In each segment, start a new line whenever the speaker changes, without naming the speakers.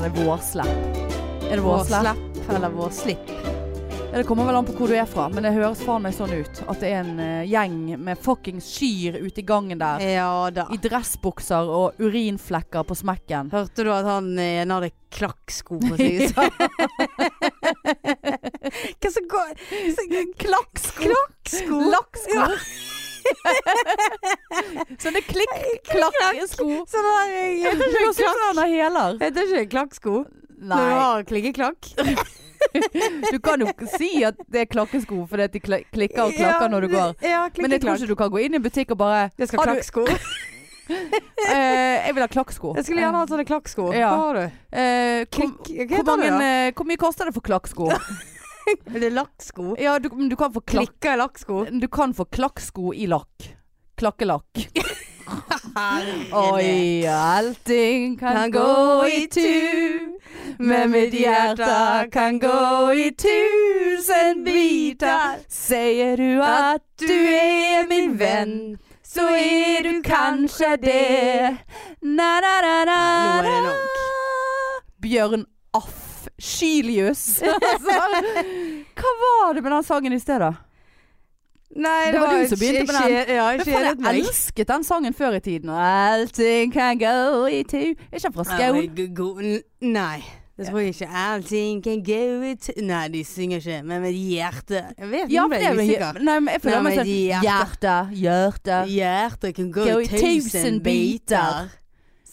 vårslapp. Er det vårslapp eller vårslipp? Ja, det kommer vel an på hvor du er fra, men det høres faen meg sånn ut. At det er en eh, gjeng med fuckings kyr ute i gangen der.
Ja da.
I dressbukser og urinflekker på smekken.
Hørte du at han eh, ene hadde klakksko på seg? Så- Hva som går Klakksko? Klakksko?
Lakksko!
Ja.
Sånne klikk-klakkesko.
Sånn der Jeg
Det
heter
høres ut som han har hæler.
heter ikke klakksko når du
Nei.
har klikkeklakk.
Du kan jo ikke si at det er klakkesko fordi at de kla- klikker og klakker når du går.
Ja,
Men jeg tror
klikkeklakk.
ikke du kan gå inn i en butikk og bare
Jeg skal
Har
ha
du-
klakksko.
eh, Jeg vil ha klakksko.
Jeg skulle gjerne hatt sånne klakksko.
Ja.
Hva har du?
Eh, hvor,
Klikk Hva
hvor,
heter
mange,
det?
eh, hvor mye koster det for klakksko?
da? Er det lakksko?
Ja, du, men du kan få klakk...
Klikker i lakksko?
Du kan få klakksko i lakk. Klakkelakk.
Oi.
Oi, allting kan gå i tu. Men mitt hjerte kan gå i tusen biter. Sier du at du er min venn, så er du kanskje det. Na-na-na-na.
Nå er det nok.
Bjørn Aff. Skylius. Altså, Hva var det med den sangen i stedet?
Nei, det,
Det var du
et
som begynte
skje-
med den.
skje- Ja, jeg
Men faen,
kjedet meg.
jeg elsket den sangen før i tiden. Og allting kan gå i tu. Er ikke han fra Skaun?
Skaun? Nei. Det tror jeg ikke. Allting can go it Nei, de synger ikke. Men med hjertet Jeg vet
Ja, for
nå ble
det er
jeg
jo
usikker.
Nei, men jeg føler
Nei,
meg
men
sånn
hjerte.
Hjerte, hjerte.
Hjertet kan gå
Gå
i tusen biter.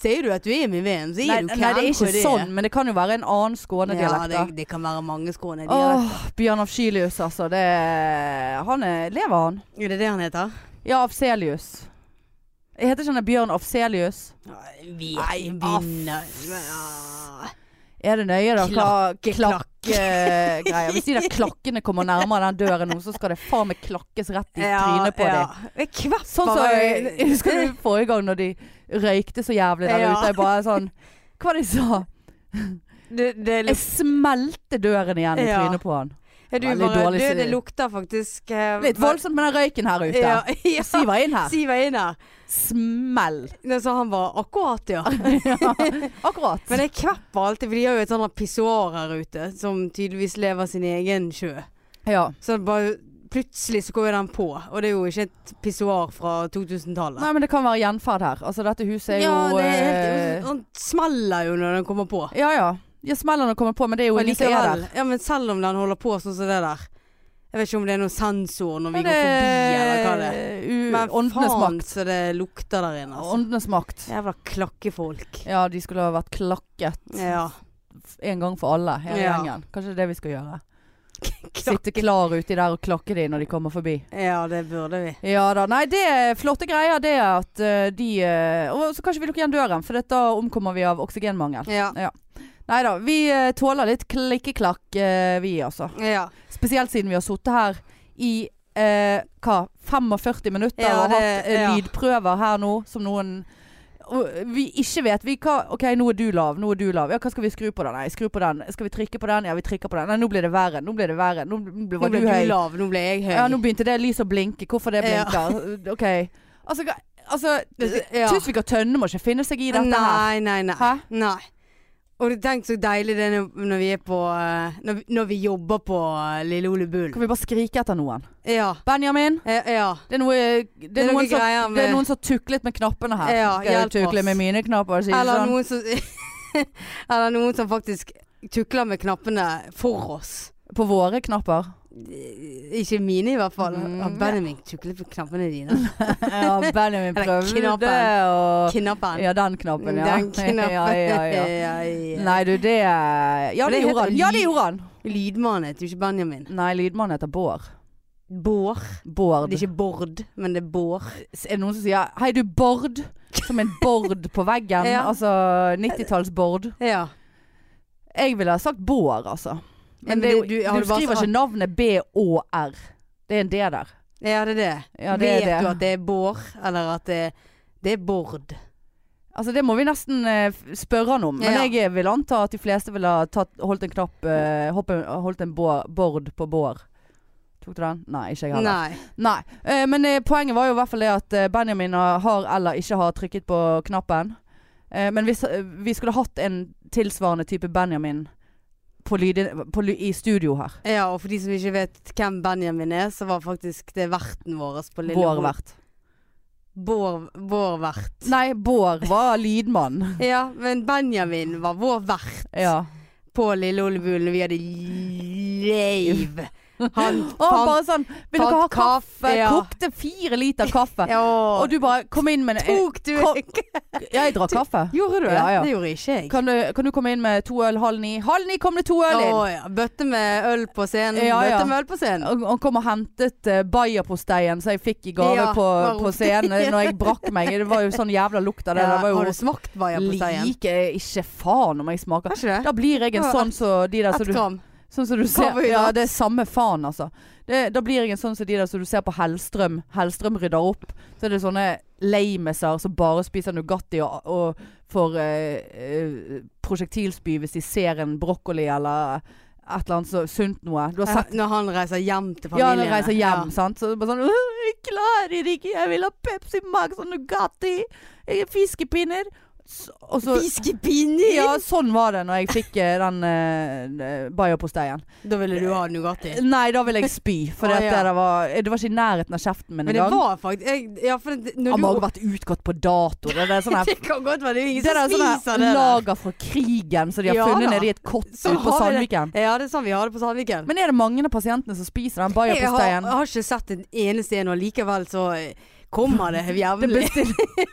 Sier du at du er min venn, så
Nei,
er du
nei, det er ikke sånn, men det kan jo være en annen
Ja,
skånedialekt.
det,
da.
det kan være mange skånedialekter.
Åh, Bjørn Afskylius, altså. Det Han er, lever, han.
Er det det han heter?
Ja, Afselius. Jeg heter ikke han er Bjørn Afselius?
Vi
Nei,
vinner
Er det nøye da hva
Klakk.
klakkegreier? Hvis de der klakkene kommer nærmere den døren nå, så skal det faen meg klakkes rett i trynet på dem.
Jeg kvepper
Sånn som jeg, jeg husker du forrige gang når de røykte så jævlig der
Ja.
ute. Jeg bare sånn Hva var det de sa?
det, det er
Jeg smelte døren igjen i
Ja.
trynet på han.
Er du
Veldig
bare
dårlig
død?
stil.
Det lukter faktisk eh,
Litt voldsomt med den røyken her ute.
Ja, ja.
Siva inn her.
Siv er inne.
Smell.
Nei, Så han var akkurat, ja.
Akkurat.
Men jeg kvepper alltid, for de har jo et sånt pissoar her ute som tydeligvis lever sin egen sjø.
ja.
Så bare plutselig så går jo den på, og det er jo ikke et pissoar fra 2000-tallet.
Nei, men det kan være gjenferd her. Altså, dette huset er
ja,
jo
det er
eh,
helt Han smeller jo når den kommer på.
Ja ja. Ja, smeller når det kommer på, men det er jo
Og
ingen som er der.
likevel- Ja, men selv om den holder på sånn som det der. Jeg vet ikke om det er noen sensor når vi
Men eh,
går forbi, eller hva det er.
u-
Men
Åndenes
faen
makt.
så det lukter der inne. Altså.
Åndenes makt.
Jævla klakkefolk.
Ja, de skulle ha vært klakket
Ja.
f- en gang for alle, hele
Ja.
gjengen. Kanskje det er det vi skal gjøre. Sitte klar uti der og klakke de når de kommer forbi.
Ja, det burde vi.
Ja da. Nei, det er flotte greier, det er at eh, de eh, Og så kan ikke vi lukke igjen døren, for da omkommer vi av oksygenmangel.
Ja.
Nei da. Vi eh, tåler litt klikkeklakk, eh, vi altså.
Ja,
Spesielt siden vi har sittet her i eh, hva, 45 minutter
Ja,
og
det-
hatt eh,
ja.
lydprøver her nå som noen og vi ikke vet vi hva, OK, nå er du lav, nå er du lav. Ja, hva skal vi skru på da? Nei, skru på den. Skal vi trykke på den? Ja, vi trykker på den. Nei, nå blir det verre. Nå blir det verre. Nå blir,
nå
var
ble
du
du
høy.
lav, nå ble jeg høy.
Ja, nå begynte det lyset å blinke. Hvorfor det
Ja.
blinker? OK. Altså, hva- altså
Ja.
Tusvik og Tønne må ikke finne seg i dette her.
Nei, nei, nei.
Hæ?
nei. Og du tenk så deilig det er når- når vi er på eh, Når vi, når vi jobber på eh, Lille Ole Bull.
Kan vi bare skrike etter noen?
Ja.
Benjamin,
Eh, ja.
det er, noe, det er,
Det er noen
noen, som,
greier
det
med-
er noen som har tuklet med knappene her.
Ja,
Skal jeg
hjelp
tukle
oss.
med mine knapper? og si det
Eller
sånn?
noen som Eller noen som faktisk tukler med knappene for oss.
På våre knapper.
Ikke mine, i hvert fall.
Mm.
Har Benjamin tuklet med knappene dine?
Ja, Benjamin
Den
prøvde
knappen.
og
Knappen.
Ja, den knappen, ja.
Den knappen.
ja, ja, ja.
Ja, ja.
Nei, du, det Ja, det
Men det
gjorde
heter
han. Ja, det
lyd.
gjorde han.
Lydmann heter jo ikke Benjamin.
Nei, lydmannen heter Bård.
Bård.
Bård.
Det er ikke Bård, men det er Bård.
Er det noen som sier 'hei, du, Bård'? Som en Bård på veggen.
Ja.
Altså 90-talls-Bård.
Ja.
Jeg ville ha sagt Bård, altså. Men
Men
det,
du- du- har
du,
du bare
skriver
sagt-
ikke navnet B-Å-R. Det er en D der.
Ja, det er det.
Ja, det er
Vet
det.
du at det er Bård, eller at det, det er Bård?
Altså Det må vi nesten eh, f- spørre han om. Men
Ja.
jeg vil anta at de fleste ville ha tatt, holdt en knapp eh, hoppe, Holdt en bår, bord på bår. Tok du den? Nei, ikke jeg heller.
Nei.
Nei. Eh, men eh, poenget var jo i hvert fall det at eh, Benjamin har- har eller ikke har trykket på knappen. Eh, men hvis eh, vi skulle hatt en tilsvarende type Benjamin på lyde, på ly, i studio her.
Ja, og for de som ikke vet hvem Benjamin er, så var faktisk det verten vår på Lille
Vår vert.
Bård, vår vert.
Nei, Bård var lydmann.
Ja, men Benjamin var vår vert
Ja.
på Lille Olebulen. Vi hadde leiv. Han
Og han bare
fant
sånn Vil dere ha
fant
kaffe?
kaffe, ja.
Kokte fire liter kaffe. Og du bare kom inn med en
tok du
Kom- Ja, jeg drakk kaffe.
Gjorde du det?
Ja, ja.
Det gjorde ikke jeg.
Kan du, kan du komme inn med to øl halv ni? Halv ni kom det to øl inn!
Å, ja. Bøtte med øl på scenen.
Ja, ja.
Bøtte med øl på scenen.
Og Han kom og hentet uh, bayerposteien som jeg fikk i gave
Ja,
på,
var
på
opp.
scenen når jeg brakk meg. Det var jo sånn jævla lukt av det.
Ja,
det var
har du
jo
smakt bayerposteien?
Liker jeg ikke faen om jeg smaker.
Har ikke det?
Da blir jeg en
Ja,
sånn som de der som
Ett
du,
gram.
sånn som du ser
Karbohydrat.
Ja, det er samme faen, altså. Det, da blir jeg en sånn som de der som du ser på Hellstrøm. Hellstrøm rydder opp. Så er det sånne lameser som bare spiser Nugatti og, og får eh, eh, prosjektilspy hvis de ser en brokkoli eller et eller annet så sunt noe. Du har
Ja,
sett
Når han reiser hjem
ja,
til familien.
når jeg reiser hjem, sant. Så er det bare sånn «Åh, Jeg klarer ikke, jeg vil ha Pepsi Max og Nugatti. Jeg er Fiskepinner. S- Og så
Fiskepinner!
Ja, sånn var det når jeg fikk eh, den uh, bayerposteien.
Da ville du ha Nugatti.
Nei, da vil jeg spy. For
Å,
det,
ja.
der var, det var ikke i nærheten av kjeften min
Men det
engang.
var faktisk jeg, Ja, for det, når
Han
du
må ha vært utgått på dato. Det er sånn her
Det kan godt være det er ingen
det der
som
er sånn
spiser
sånne
det. der.
lager fra krigen som de har
Ja da.
funnet nede i et kott
Så
ute på
har vi det.
Sandviken.
Ja, det er sånn vi har det på Sandviken.
Men er det mange av pasientene som spiser den
Jeg har,
bayerposteien?
jeg har ikke sett en eneste en, og likevel så eh, kommer det jevnlig.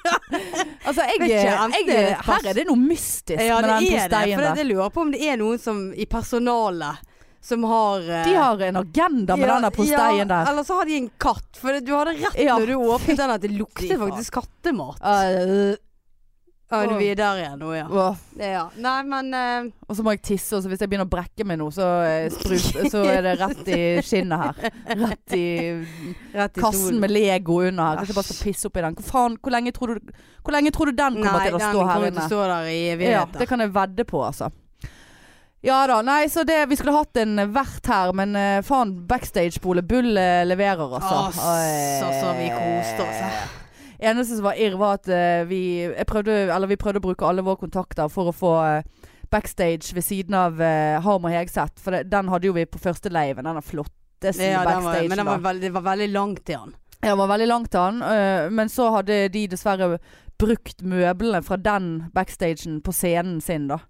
Altså, jeg,
Vet ikke,
jeg,
enten er det et pass-
her er det noe mystisk
Ja,
med
det
den
er det.
posteien
For det,
der.
jeg lurer på om det er noen som i personalet som har eh,
De har en agenda med den der posteien
ja,
der.
Eller så har de en katt. For det- du hadde rett
Ja,
når du åpnet den at det
fy
lukter
faen.
faktisk kattemat.
Øh,
Ja, vi er der igjen nå, ja.
åh.
ja. Nei, men eh,
og så må jeg tisse, og så hvis jeg begynner å brekke meg nå, så, eh, sprut- så er det rett i skinnet her. Rett i
rett i
kassen
stolen.
med Lego under her. Kanskje jeg bare skal pisse oppi den. Hvor faen, hvor lenge tror du, hvor lenge tror du den kommer
Nei,
til å
den
stå her
kommer til
inne?
å stå der i
Ja,
evigheter.
det kan jeg vedde på, altså. Ja da. Nei, så det Vi skulle hatt en vert her, men eh, faen, backstage-Bole Bull eh, leverer, altså.
Ass, altså, vi koste oss, eh.
Eneste som var irr, var at eh, vi, jeg prøvde, eller vi prøvde å bruke alle våre kontakter for å få eh, backstage ved siden av eh, Harm og Hegseth. For det, den hadde jo vi på første leiven. Den er flotteste
Ja, den var,
backstagen.
men den
da.
var veld, det var veldig langt til han.
Ja, det var veldig langt til han, øh, men så hadde de dessverre brukt møblene fra den backstagen på scenen sin, da.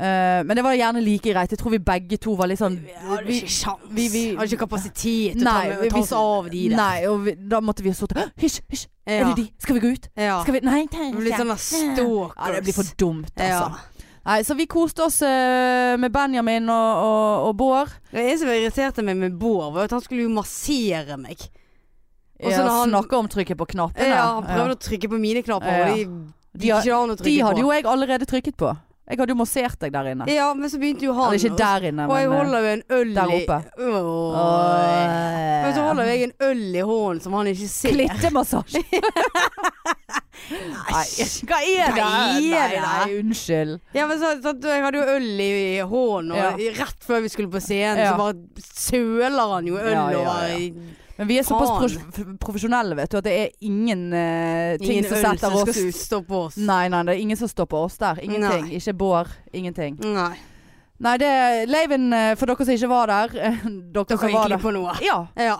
Eh, men det var gjerne like greit. Jeg tror vi begge to var litt sånn
Vi hadde
vi-
ikke sjans.
vi- vi-
hadde ikke kapasitet til å
Nei,
ta, med- ta
vi-
oss av de der.
Nei, og vi, da måtte vi ha sittet «Hå, Hysj, hysj, er
Ja.
det de? Skal vi gå ut?
Ja.
Skal vi Nei, det
Det blir sånn der stalkers.
ja, det blir for dumt, altså.
Ja.
Nei, så vi koste oss øh, med Benjamin og, og, og Bård.
Det eneste som irriterte meg med Bård, var at han skulle jo massere meg. Og så
Ja,
når han-
Snakke om trykket på knappene.
Ja, han
Ja.
prøvde å trykke på mine knapper,
Ja.
og de,
De
de,
har-
ikke an å
De
trykke
hadde
på.
jo jeg allerede trykket på. Jeg hadde jo massert deg der inne.
Ja, men så begynte jo
Eller
han.
ikke der inne,
og, og jeg
men øh,
holder jo en øl
der
i
oppe.
Oi. Men så holder
Åh.
jeg en øl i hånden som han ikke ser.
Klittemassasje.
Æsj.
hva er det?
Nei,
Nei,
nei,
nei, unnskyld.
Ja, men så, så, jeg hadde jo øl i hånden, og rett før vi skulle på scenen,
Ja.
så bare søler han jo øl
Ja, ja, ja.
over i
Men vi er såpass
Faen.
prof profesjonelle, vet du, at det er ingen eh, ting
Ingen
som
øl
setter
som
oss
skal stoppe oss.
Nei, nei, det er ingen som stopper oss der. Ingenting.
Nei.
Ikke Bård. Ingenting.
Nei.
Nei, det er Leiven, eh, for dere som ikke var der eh, Dere
Da
som
kan vi
var der.
klippe på noe.
Ja,
Ja.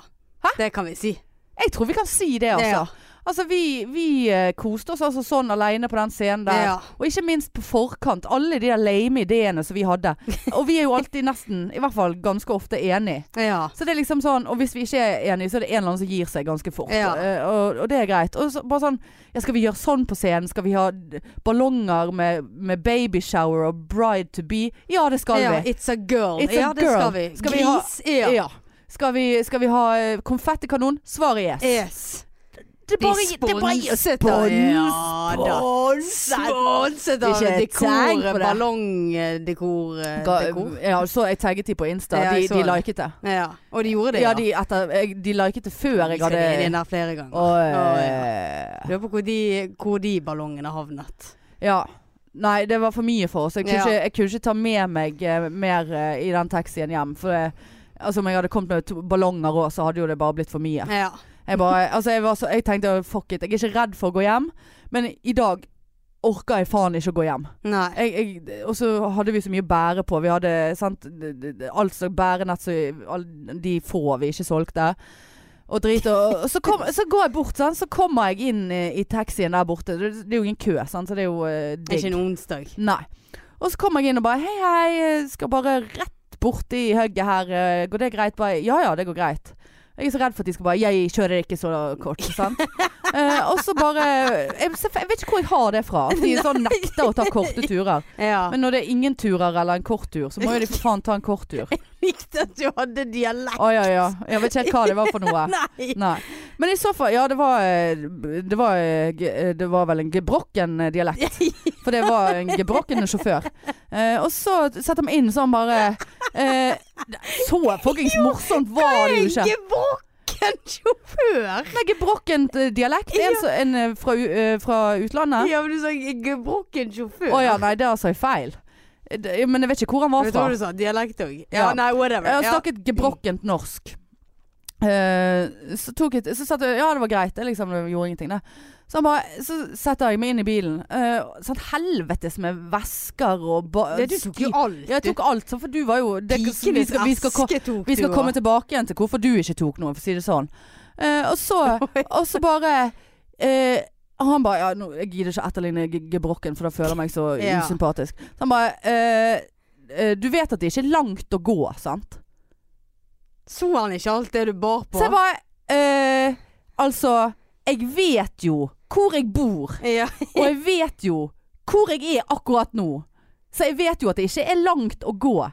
Det kan vi si.
jeg tror vi kan si det, altså.
Ja.
Altså, vi, vi eh, koste oss altså sånn aleine på den scenen der.
Ja.
Og ikke minst på forkant. Alle de der lame ideene som vi hadde. Og vi er jo alltid nesten, i hvert fall ganske ofte, enig.
ja.
Så det er liksom sånn, Og hvis vi ikke er enige, så er det en eller annen som gir seg ganske fort.
Ja.
Eh, og, og det er greit. Og så, bare sånn ja, Skal vi gjøre sånn på scenen? Skal vi ha d- ballonger med, med babyshower og bride to be? Ja, det skal
ja.
vi.
It's a girl.
It's a
ja, det
girl.
skal vi.
Skal vi ha-
Gris, ja.
Skal vi, skal vi ha eh, konfettikanon? Svaret er yes.
Yes.
Det er
De
det er bare-
sponset, da. Ja, da.
Sponset!
Sponset av
Ikke tenk
dekor,
på det.
ballongdekor eh,
Ga,
dekor.
ja, så jeg tagget de på Insta.
Ja, jeg
de
så
de
det.
liket det.
Ja, og de gjorde det,
Ja, de, etter, jeg, de liket det før jeg
Skal
hadde eh,
de inn der flere ganger.
Og, ja.
Lurer på hvor de, hvor de ballongene havnet.
Nei, det var for mye for oss. Jeg kunne,
Ja.
ikke, jeg kunne ikke ta med meg eh, mer eh, i den taxien hjem. For eh, altså, om jeg hadde kommet med to ballonger òg, så hadde jo det bare blitt for mye.
Ja.
Jeg, bare, altså, jeg, var så, jeg tenkte fuck it, jeg er ikke redd for å gå hjem, men i dag orker jeg faen ikke å gå hjem.
Nei.
Jeg, jeg, og så hadde vi så mye å bære på. Vi hadde sant, d- d- d- alt slags bærenett, så all- de få vi ikke solgte. Og drit og, og så, kom, så går jeg bort, sant? så kommer jeg inn i, i taxien der borte. Det, det er jo ingen kø, sant? så det er jo eh,
Det er
digg.
ikke en onsdag.
Nei. Og så kommer jeg inn og bare Hei, hei, jeg skal bare rett borti hugget her. eh, Går det greit? Bare, ja ja, det går greit. Jeg er så redd for at de skal bare Jeg kjører ikke så kort, sant. Eh, og så bare eh, jeg, jeg vet ikke hvor jeg har det fra. At de sånn nekter å ta korte turer.
Ja.
Men når det er ingen turer eller en kort tur, så må jo de for faen ta en kort tur.
Likte at du hadde dialekt.
Å ja ja. Jeg vet ikke helt hva det var for noe.
Nei.
Nei. Men i så fall Ja, det var eh, Det var, eh, ge- eh, det var vel en gebrokken eh, dialekt. For det var en gebrokken sjåfør. Eh, og så setter vi inn sånn bare eh, Så fuckings morsomt var det jo ikke.
Gebrokken sjåfør.
Nei, gebrokken eh, dialekt. En, så- en eh, fra, u- eh, fra utlandet.
Ja, men du sa gebrokken sjåfør.
Å ja, nei, der sa jeg feil. Eh, det- Men jeg vet ikke hvor han var
Vet du
fra.
hva du sa? Dialekt òg.
Ja.
Ja, nei, whatever.
Jeg har
Ja.
snakket gebrokkent norsk. Eh, så tok jeg Så satt jeg Ja, det var greit. Jeg liksom det gjorde ingenting, det. Så, han bare, så setter jeg meg inn i bilen. eh, sånn helvetes med vesker og ba
Ja, du tok jo
skip-
alt.
Ja, jeg tok alt. sånn, For du var jo det, vi, skal, vi, skal, ko-
aske tok
vi skal
du,
komme
og-
tilbake igjen til hvorfor du ikke tok noe, for å si det sånn. Eh, og, så, og så bare eh, Han bare ja, nå, Jeg gidder ikke etterligne ge- gebrokken, for da føler jeg meg så
Ja.
usympatisk. Så han bare eh, eh, Du vet at det ikke er langt å gå, sant?
Så han ikke alt det du bar på?
Så jeg bare eh, Altså, jeg vet jo hvor jeg bor,
ja.
og jeg vet jo hvor jeg er akkurat nå. Så jeg vet jo at det ikke er langt å gå.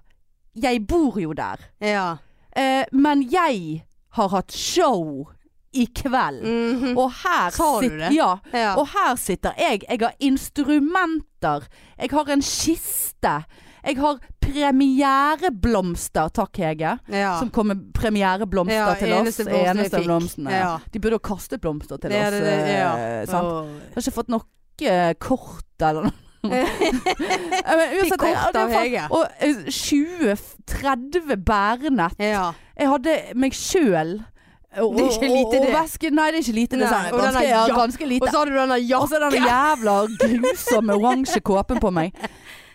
Jeg bor jo der.
ja.
Eh, men jeg har hatt show i kveld.
Mhm.
Og her,
Sa du
sit-
det?
Ja,
ja.
Mm-hmm. og her sitter jeg. Jeg har instrumenter. Jeg har en kiste. Jeg har premiereblomster, takk Hege.
ja.
Som kom med premiereblomster
Ja,
til oss.
eneste blomsten jeg
Eneste
fikk.
blomstene.
Ja.
De burde jo kaste blomster til
Det er
oss.
det, det- ja.
eh, sant?
Og-
Jeg har ikke fått noe eh, kort eller noe. Ja, men uansett,
kort
ja, det er
av
faen-
Hege.
Og eh, 20-30 bærenett.
Ja.
Jeg hadde meg sjøl. Og,
Det er ikke lite,
og, og
det.
væske Nei, det er ikke lite. Det er
Nei,
sånn
og den
ganske,
er
ja,
ja-
ganske
Og
lite.
så hadde du denne
Og så er
jakken.
den jævla grusomme oransje kåpen på meg.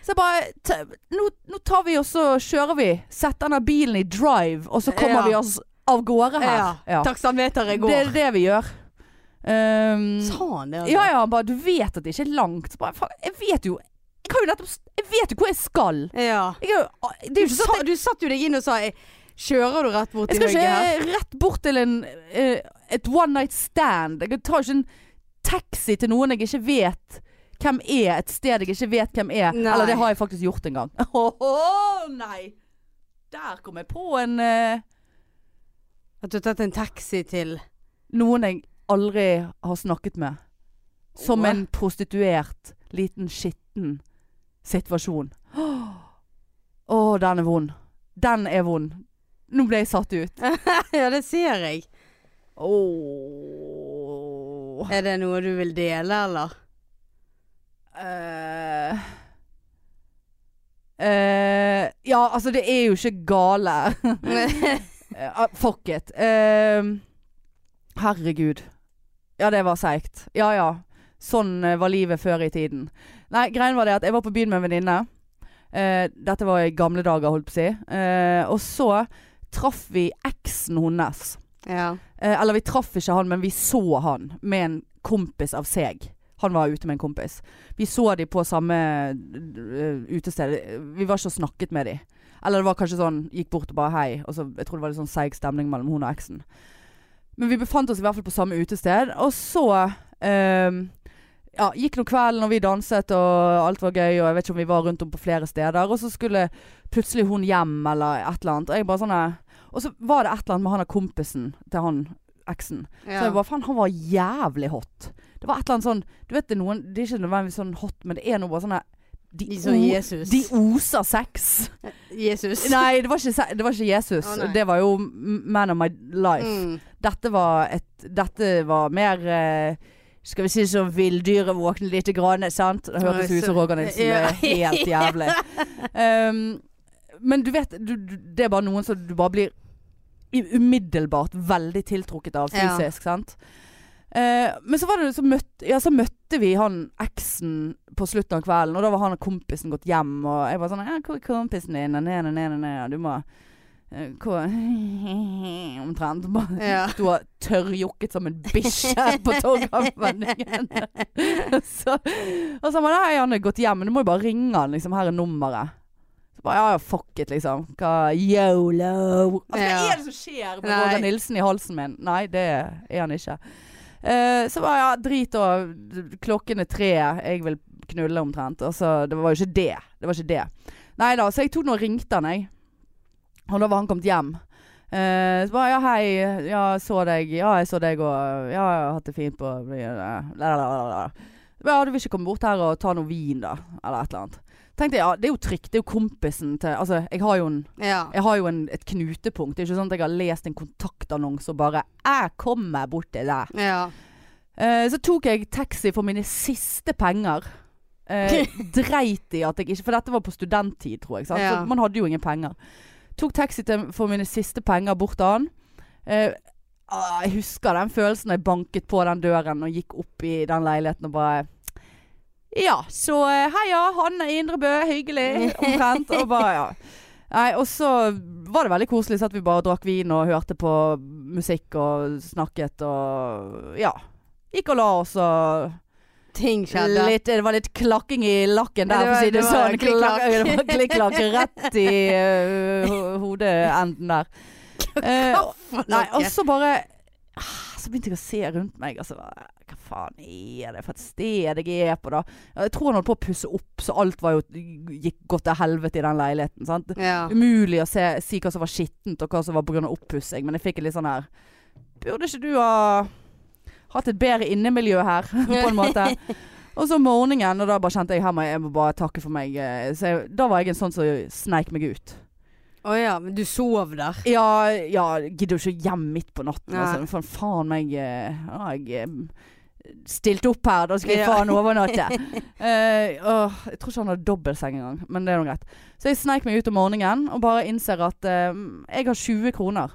Så jeg bare t- nå, nå tar vi og så kjører vi. Setter denne bilen i drive, og så kommer
Ja.
vi oss av gårde her.
Ja.
Ja.
Taksameteret går.
Det er det vi gjør. Um,
Sa han det? altså?
ja, ja, han bare Du vet at det ikke er langt. Så bare, faen, jeg vet jo Jeg har jo nettopp s- Jeg vet jo hvor jeg skal.
ja.
Jeg, er jo- det er
Du,
jo ikke sånn at jeg-
sa, du satt jo deg inn og sa jeg, Kjører du rett bort
Jeg
til
skal
høyre her?
ikke rett bort til en, eh, et one night stand. Jeg tar ikke en taxi til noen jeg ikke vet hvem er, et sted jeg ikke vet hvem er.
Nei.
Eller det har jeg faktisk gjort en gang. Å nei! Der kom jeg på en eh,
At du har tatt en taxi til
noen jeg aldri har snakket med. Som
Åh.
en prostituert, liten skitten situasjon. Å, den er vond. Den er vond. Nå ble jeg satt ut.
Ja, det ser jeg.
Åh
Er det noe du vil dele, eller?
Eh, eh, ja, altså det er jo ikke gale. Eh, fuck it. Eh, herregud. Ja, det var seigt. Ja ja. Sånn eh, var livet før i tiden. Nei, greien var det at jeg var på byen med en venninne. Eh, dette var i gamle dager, holdt på å si. Eh, og så traff vi eksen hennes.
ja.
Eh, eller vi traff ikke han, men vi så han med en kompis av seg. Han var ute med en kompis. Vi så de på samme eh, utested. Vi var ikke og snakket med de. Eller det var kanskje sånn, gikk bort og bare hei. Og så, jeg tror det var litt sånn seig stemning mellom hun og eksen. Men vi befant oss i hvert fall på samme utested. Og så eh, ja, gikk nå kvelden, og vi danset, og alt var gøy. Og jeg vet ikke om vi var rundt om på flere steder. Og så skulle plutselig hun hjem, eller et eller annet. Og jeg bare sånn eh, og så var det et eller annet med han der kompisen til han eksen.
ja.
Så jeg bare, faen, han var jævlig hot. Det var et eller annet sånn Du vet det er noen Det er ikke nødvendigvis sånn hot, men det er noe bare sånn der de,
De som
o-
Jesus.
de oser sex.
Jesus.
Nei, det var ikke, se- det var ikke Jesus.
Å, nei.
det var jo m- man of my life.
Mm.
Dette var et Dette var mer eh, skal vi si som villdyret våkner lite grann, sant? Det hørtes
Oi,
ut som
så-
Roger Nilsen. Det
Ja.
er helt jævlig. Um, men du vet, du, du, det er bare noen som du bare blir i- umiddelbart veldig tiltrukket av
Ja.
fysisk, sant? Eh, men så var det så møtte, ja, så møtte møtte vi han eksen på slutten av kvelden, og da var han og kompisen gått hjem, og jeg var sånn ja, 'Hvor er kompisen din?' Og, ned, ned, ned, ned, og du må eh, hvor Omtrent. Bare
Ja.
Du har tørrjokket som en bikkje på Torgallmenningen. så, og så bare Nei, han er gått hjem, men du må jo bare ringe han, liksom. Her er nummeret. Så bare, ja, ja, fuck it, liksom. Hva, Yolo. Altså,
Ja.
Hva er det som skjer med
Nei.
Roger Nilsen i halsen min? Nei, det er han ikke. Eh, så bare, ja, drit og Klokken er tre, jeg vil knulle omtrent. Altså, det var jo ikke det. Det var ikke det. Nei da, så jeg tok den og ringte han, jeg. Og da var han kommet hjem. Eh, så bare ja, hei, ja, jeg så deg, ja, jeg så deg, og ja, jeg har hatt det fint på Lalalala. Ja, du vil ikke komme bort her og ta noe vin, da? Eller et eller annet. Tenkte jeg, ja, det er jo trygt. Det er jo kompisen til Altså, jeg har jo, en,
Ja.
jeg har jo en, et knutepunkt. Det er ikke sånn at jeg har lest en kontaktannonse og bare 'Jeg kommer bort til deg'.
Ja.
Eh, så tok jeg taxi for mine siste penger. Eh, dreit i at jeg ikke For dette var på studenttid, tror jeg. Sant?
Ja.
Så man hadde jo ingen penger. Tok taxi til, for mine siste penger bort til han. Eh, ah, jeg husker den følelsen da jeg banket på den døren og gikk opp i den leiligheten og bare Ja, så eh, heia, Hanne Indrebø, hyggelig, omtrent. Og bare, ja. Nei, og så var det veldig koselig så at vi bare drakk vin og hørte på musikk og snakket og ja. Gikk og la oss og
Ting skjedde.
litt, Det var litt klakking i lakken
Ja,
der, for
det
å
var-
si det
det var
sånn.
klikk-klakk.
Klakk- Det var klikk-klakk rett i øh, ho- hodeenden der. Eh, og-
For
nei,
noe.
og så bare ah, Så begynte jeg å se rundt meg, og så bare Hva faen er det for et sted jeg er på, da? Jeg tror han holdt på å pusse opp, så alt var jo, gikk godt til helvete i den leiligheten. Sant?
ja.
Umulig å se, si hva som var skittent og hva som var pga. oppussing, men jeg fikk en litt sånn her Burde ikke du ha hatt et bedre innemiljø her, på en måte? Og så morgenen, og da bare kjente jeg her må jeg jeg må bare takke for meg. eh, Så jeg, da var jeg en sånn som sneik meg ut.
Å ja, men du sov der.
Ja, ja gidder jo ikke hjem midt på natten.
Nei.
Altså, faen, faen meg eh, ja, Jeg eh, stilte opp her, da skal jeg
Ja.
faen overnatte. Eh, åh, jeg tror ikke han hadde dobbeltseng engang, men det er nå greit. Så jeg sneik meg ut om morgenen og bare innser at eh, jeg har 20 kroner.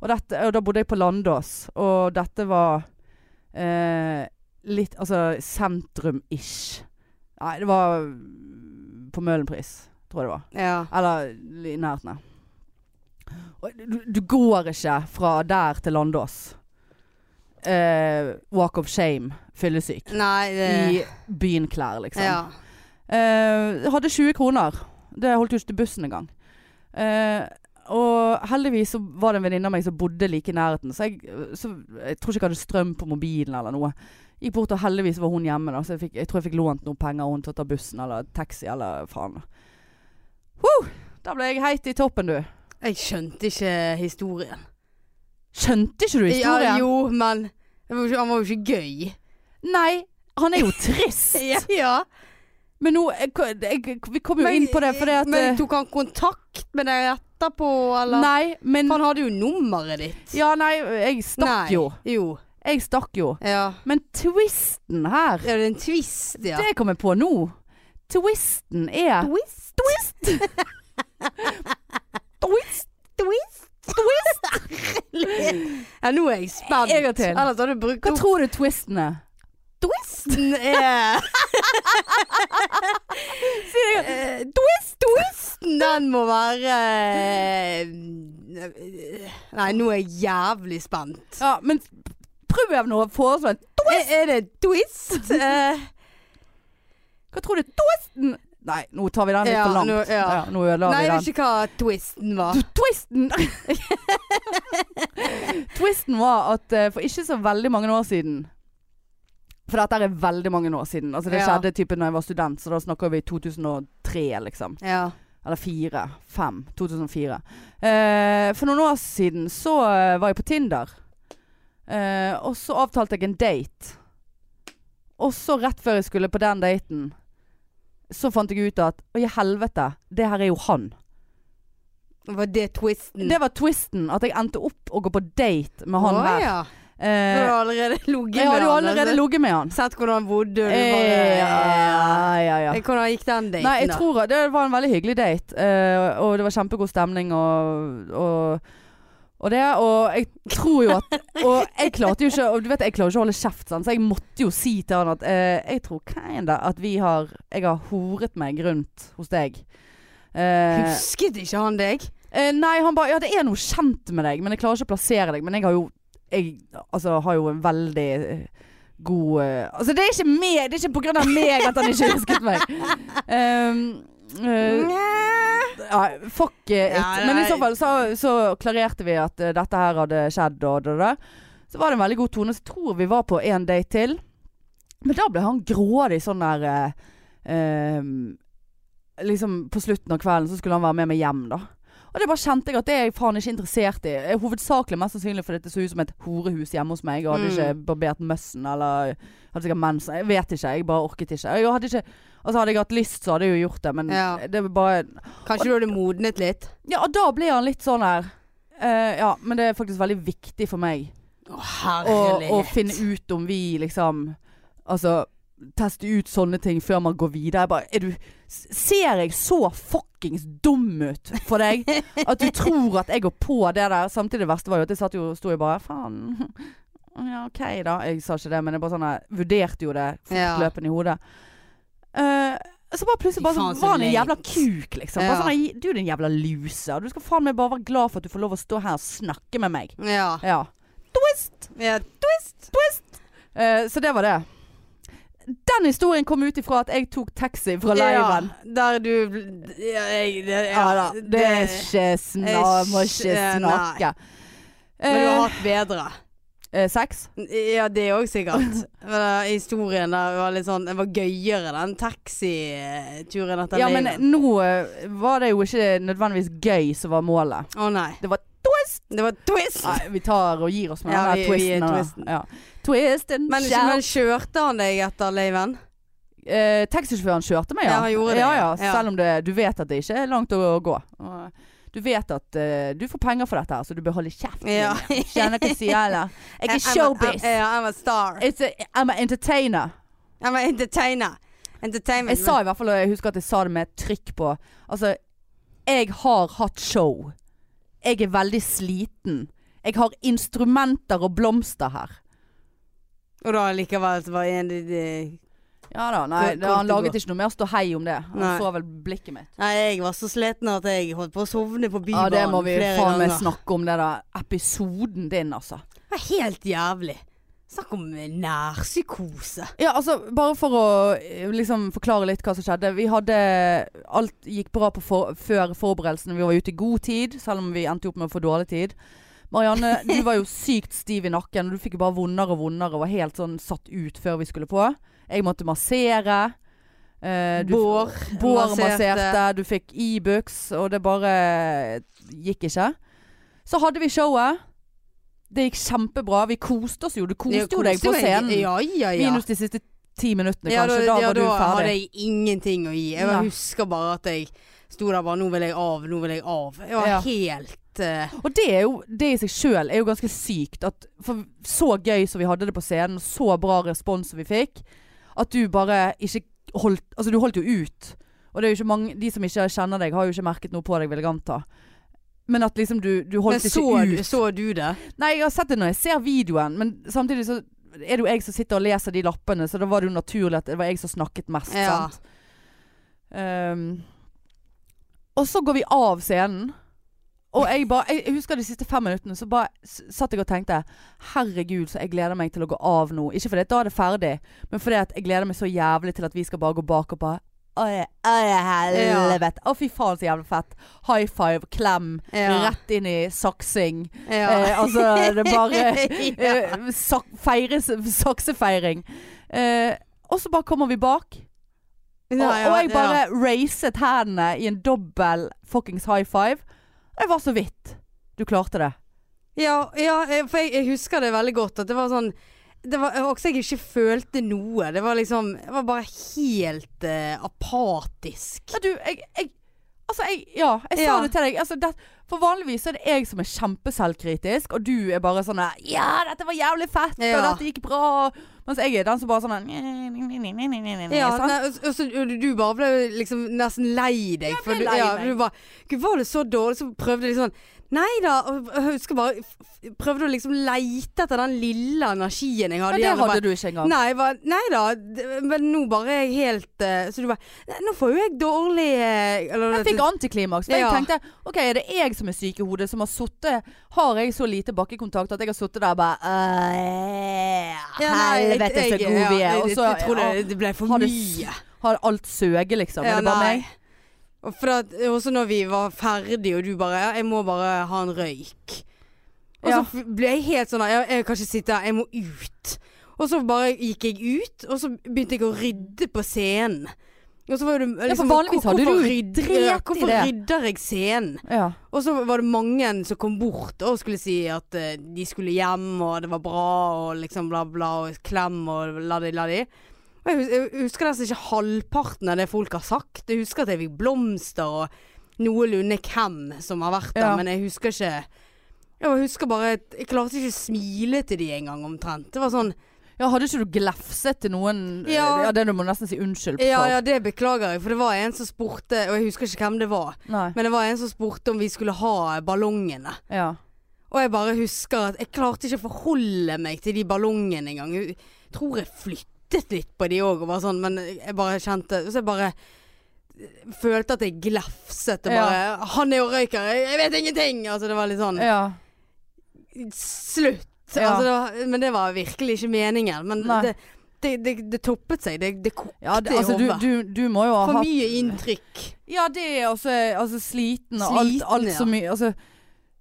Og, dette, og da bodde jeg på Landås, og dette var eh, litt Altså sentrum-ish. Nei, det var på Møhlenpris, tror jeg det var.
Ja.
Eller i nærheten av. Og Du, du går ikke fra der til Landås. Eh, walk of shame, fyllesyk.
Nei, det
I byenklær, liksom.
Ja.
Eh, jeg hadde 20 kroner. Det holdt jo ikke til bussen engang. Eh, og heldigvis så var det en venninne av meg som bodde like i nærheten. Så jeg, så jeg tror ikke jeg hadde strøm på mobilen eller noe. Gikk bort, og heldigvis var hun hjemme, da, så jeg, fikk, jeg tror jeg fikk lånt noen penger av hun til å ta bussen eller taxi eller faen. Woo! Da ble jeg heit i toppen, du.
Jeg skjønte ikke historien.
Skjønte ikke du historien?
Ja, jo, men det var jo ikke- han var jo ikke gøy.
Nei, han er jo trist.
ja.
Men nå jeg, jeg, Vi kom jo inn på det fordi at eh,
Men tok han kontakt med deg etterpå, eller?
Nei, men
For han hadde jo nummeret ditt.
Ja, nei, jeg stakk
Nei.
jo.
Jo.
Jeg stakk jo.
Ja.
Men twisten her,
Er det en twist, ja?
det kom jeg på nå. Twisten er
twist,
Twist!
twist, twist. ja, nå er jeg spent.
En gang til.
Ellers hadde du brukt
Hva
opp
tror du twisten er?
twisten. er- Eh, twist, twisten, den må være eh, Nei, nå er jeg jævlig spent.
Ja, men prøv nå å foreslå en
Er, er det twist? Eh,
Hva tror du twisten Nei, nå tar vi den litt
Ja,
for langt.
nå- ja.
nå ødela vi
nei, jeg
den.
vet ikke hva twisten var.
Du, twisten Twisten var at eh, for ikke så veldig mange år siden For dette er veldig mange år siden. Altså Det
Ja.
skjedde typen når jeg var student, så da snakker vi 2003, liksom.
Ja.
Eller fire. Fem. 2004. Eh, for noen år siden så eh, var jeg på Tinder. Eh, og så avtalte jeg en date. Og så rett før jeg skulle på den daten, så fant jeg ut at Å, i helvete, det her er jo han.
Var det twisten?
Det var twisten. At jeg endte opp å gå på date med han
Mm. Å,
her.
Ja. Du
Eh,
har allerede ligget
jeg
med
hadde jo
han,
allerede
altså.
ligget med han.
Sett hvordan han bodde. og Du
Eh,
bare,
ja, ja, ja.
Hvordan gikk den daten,
Nei, jeg
da?
tror det var en veldig hyggelig date. eh, og det var kjempegod stemning og, og, og Og det, og jeg tror jo at Og jeg klarte jo ikke og Du vet, jeg klarer ikke å holde kjeft, sant? så jeg måtte jo si til han at eh, jeg tror kinda at vi har Jeg har horet meg rundt hos deg. Eh,
Husket ikke han deg?
eh, nei, han bare Ja, det er noe kjent med deg, men jeg klarer ikke å plassere deg. Men jeg har jo Jeg altså, har jo en veldig eh, god eh, Altså, det er ikke meg, det er ikke på grunn av meg at han ikke husket meg. Um, eh, ja, fuck eh, it.
Ja, det
Men i
er-
så fall så, så klarerte vi at eh, dette her hadde skjedd og da, da. Så var det en veldig god tone. Så jeg tror vi var på en date til. Men da ble han grådig sånn der eh, eh, Liksom på slutten av kvelden så skulle han være med meg hjem, da. Og det bare kjente jeg at det er jeg faen ikke interessert i. Eh, Hovedsakelig mest sannsynlig fordi det så ut som et horehus hjemme hos meg. Jeg hadde
Mm.
ikke barbert møssen eller hadde sikkert mensen. Jeg vet ikke. Jeg bare orket ikke. Jeg hadde ikke altså hadde jeg hatt lyst, så hadde jeg jo gjort det, men
Ja.
det var bare
Kanskje du hadde modnet litt?
ja, og da blir han litt sånn her eh, Ja, men det er faktisk veldig viktig for meg
Å,
å, å finne ut om vi liksom Altså Teste ut sånne ting før man går videre. Jeg bare, er du, s- ser jeg så fuckings dum ut for deg at du tror at jeg går på det der? Samtidig det verste var jo at jeg satt jo, sto jo bare Faen. Ja, OK, da. Jeg sa ikke det, men jeg bare sånn jeg vurderte jo det
Ja.
fortløpende i hodet. Eh, så bare plutselig bare
Fy faen,
sånn,
så
var han en
leit.
jævla kuk, liksom. Bare
Ja.
sånn, «Nei, du er en jævla loser. Du skal faen meg bare være glad for at du får lov å stå her og snakke med meg.
Ja.
Ja.
ja.
Eh, så det var det. Den historien kom ut ifra at jeg tok taxi fra leiren.
Ja, der du ja, jeg, det,
Ja,
ja,
da. Det er ikke sna
Jeg
må ikke
skj-
snakke.
Men du har
Eh,
hatt bedre.
eh, sex?
Ja, det òg sikkert. Men eh, historien der var litt sånn Den var gøyere, den taxituren etter
Ja, men
leiren.
nå eh, var det jo ikke nødvendigvis gøy som var målet.
Å nei.
Det var
Det var twist!
Nei, vi tar og gir oss med
Ja,
den
vi-
der
vi
twisten.
er
da.
twisten.
Ja. Twist and
Men,
shout.
men kjørte han deg etter leiven?
Eh, Taxisjåføren kjørte meg, ja.
Ja, han gjorde det,
ja, ja.
ja.
Selv om det, du vet at det ikke er langt å gå. Og Du vet at eh, du får penger for dette, her, så du bør holde kjeft.
Ja.
Kjenner hva jeg sier, eller? Jeg er
I'm a-
showbiz.
I'm- Ja, I'm a star.
It's a, I'm an entertainer.
I'm a entertainer. Entertainment.
Jeg sa i hvert fall, og jeg husker at jeg sa det med trykk på Altså, jeg har hatt show. Jeg er veldig sliten. Jeg har instrumenter og blomster her.
Og da likevel så var en de, de
Ja da, nei,
Kort-
det, han
kort og
laget ikke noe mer ståhei om det. Han
Nei.
så vel blikket mitt.
Nei, jeg var så sliten at jeg holdt på å sovne på
Ja,
bybanen
det må vi
flere
faen meg
ganger.
snakke om, det der episoden din, altså.
Det var helt jævlig. Snakk om eh, nærpsykose.
Ja, altså, bare for å eh, liksom forklare litt hva som skjedde. Vi hadde Alt gikk bra på for, før forberedelsene. Vi var ute i god tid, selv om vi endte opp med å få dårlig tid. Marianne, du var jo sykt stiv i nakken. og Du fikk jo bare vondere og vondere og var helt sånn satt ut før vi skulle på. Jeg måtte massere. Eh, du-
Bård
Bård
masserte.
masserte. Du fikk Ibux, og det bare eh, gikk ikke. Så hadde vi showet. Det gikk kjempebra. Vi koste oss jo. Du koste
Jeg
jo deg
koste
på
meg.
scenen.
Ja, ja, ja.
Minus de siste ti minuttene,
Ja,
kanskje. Da,
ja,
var du
da hadde
ferdig.
jeg ingenting å gi. Jeg
Nei.
bare husker bare at jeg sto der bare Nå vil jeg av, nå vil jeg av. Jeg var
Ja.
helt eh,
Og det, er jo, det i seg sjøl er jo ganske sykt. At for så gøy som vi hadde det på scenen, og så bra respons som vi fikk, at du bare ikke holdt Altså, du holdt jo ut. Og det er jo ikke mange De som ikke kjenner deg, har jo ikke merket noe på deg, vil jeg anta. Men at liksom du, du
Men
holdt
så,
ikke ut.
du- så du det?
Nei, jeg har sett det når jeg ser videoen, men samtidig så er det jo jeg som sitter og leser de lappene, så da var det jo naturlig at det var jeg som snakket mest,
Ja.
sant? Ehm, og så går vi av scenen, og jeg bare Jeg husker de siste fem minuttene, så bare s- satt jeg og tenkte Herregud, så jeg gleder meg til å gå av nå. Ikke fordi at da er det ferdig, men fordi at jeg gleder meg så jævlig til at vi skal bare gå bak og bare Oi, oi, helvete. Å, fy faen, så jævlig fett. High five, klem.
Ja.
Rett inn i saksing.
Ja.
Eh, altså, det er bare
ja.
eh, sak feires, Saksefeiring. Eh, og så bare kommer vi bak, og,
Ja,
og jeg
ja,
bare racet hendene i en dobbel fuckings high five. Jeg var så vidt. Du klarte det.
Ja, ja jeg- for jeg, jeg husker det veldig godt. At det var sånn det var også jeg ikke følte noe. Det var liksom Jeg var bare helt eh, apatisk.
Ja, du, jeg, jeg Altså, jeg Ja, jeg sa
Ja.
det til deg. Altså, det, for vanligvis så er det jeg som er kjempeselvkritisk, og du er bare sånn der, Ja, dette var jævlig fett, og
Ja.
dette gikk bra. Mens jeg er den som bare sånn der,
Ja,
sant?
nei, og s- og så du- du bare ble liksom nesten lei deg.
ble
du,
lei
ja,
meg.
du bare Gud, var det så dårlig? Så prøvde jeg liksom Nei da. og Jeg husker bare f- f- Prøvde å liksom leite etter den lille energien jeg hadde.
det
igjen, og
hadde du ikke engang.
Nei, hva, nei da, d- men nå bare er jeg helt eh, Så du bare "Nei, Nå får jo jeg dårlig eh," eller,
Jeg fikk antiklimaks. For
Ja.
jeg tenkte OK, er det jeg som er syk i hodet, som har sittet Har jeg så lite bakkekontakt at jeg har sittet der bare «Øh,
Ja, nei, jeg-
Helvete, så
jeg-
gode vi
ja,
er.
jeg-
Og så
jeg tror det, det ble for
har det
mye.
har alt søget, liksom.
Ja,
er det bare
nei.
meg?
Og for at, også når vi var ferdige, og du bare ja, 'Jeg må bare ha en røyk'. Og
Ja.
så f- ble jeg helt sånn ja, 'Jeg kan ikke sitte her, jeg må ut'. Og så bare gikk jeg ut, og så begynte jeg å rydde på scenen. Og så var det
for
liksom,
vanligvis
hvor-
hadde du
hvorfor
jo
rydder-
dret
ja,
i
Hvorfor
det.
rydder jeg scenen?
Ja.
Og så var det mange som kom bort og skulle si at eh, de skulle hjem, og det var bra, og liksom bla, bla, og klem, og la de, la de. Og jeg hus- jeg husker nesten ikke halvparten av det folk har sagt. Jeg husker at jeg fikk blomster og noenlunde hvem som har vært der,
Ja.
men jeg husker ikke Jeg husker bare at Jeg klarte ikke å smile til de engang, omtrent. Det var sånn
ja, hadde ikke du glefset til noen eh, ja.
Ja.
det du må nesten si unnskyld for?
Ja, ja, det beklager jeg, for det var en som spurte, og jeg husker ikke hvem det var,
Nei.
men det var en som spurte om vi skulle ha ballongene.
Ja.
Og jeg bare husker at jeg klarte ikke å forholde meg til de ballongene engang. Jeg tror jeg flyttet litt på de òg, og var sånn, men jeg bare kjente Så jeg bare eh, følte at jeg glefset og
Ja.
bare 'Han er jo røyker, jeg, jeg vet ingenting!' Altså, det var litt sånn
ja.
Slutt!
Ja.
Altså, det var, men det var virkelig ikke meningen. Men
Nei.
det, det, det, det toppet seg. Det, det kokte
ja det, altså,
i
du,
hodet.
du, du må jo ha
For
hatt
mye inntrykk.
Ja, det er altså, altså sliten og alt,
Sliten,
alt
ja.
så mye altså,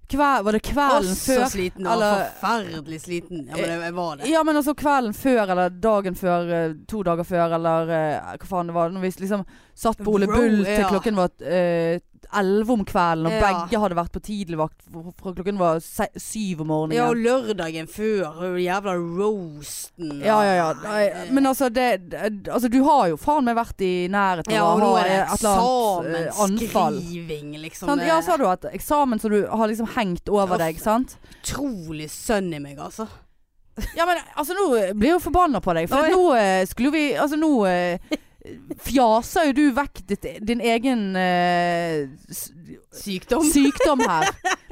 kve- Var det kvelden
Også
før?
sliten.
eller-
Eller, forferdelig sliten. Ja, men jeg, jeg var det.
Ja, men altså kvelden før, eller dagen før, eh, to dager før, eller eh, hva faen det var. Når vi liksom satt på Ole
Row,
Bull til
ja.
klokken var eh, elleve om kvelden, og
Ja.
begge hadde vært på tidligvakt fra fra klokken var se syv om morgenen.
Ja, og lørdagen før, og jævla roasten.
Ja, ja, ja.
Nei,
Nei, Men altså, det, det- altså du har jo faen meg vært i nærheten
ja,
av
og
å
nå
ha
er det
eh, et eller annet eh, anfall.
eksamensskriving, liksom.
Sant?
Det
Ja,
er
så har du hatt eksamen som du har liksom hengt over
Uff.
deg, sant?
Utrolig sønn i meg, altså.
Ja, men altså nå blir jeg jo forbanna på deg, for
Oi.
at nå eh, skulle vi Altså nå eh, fjaser jo du vekk ditt, din egen eh, s-
Sykdom.
sykdom her.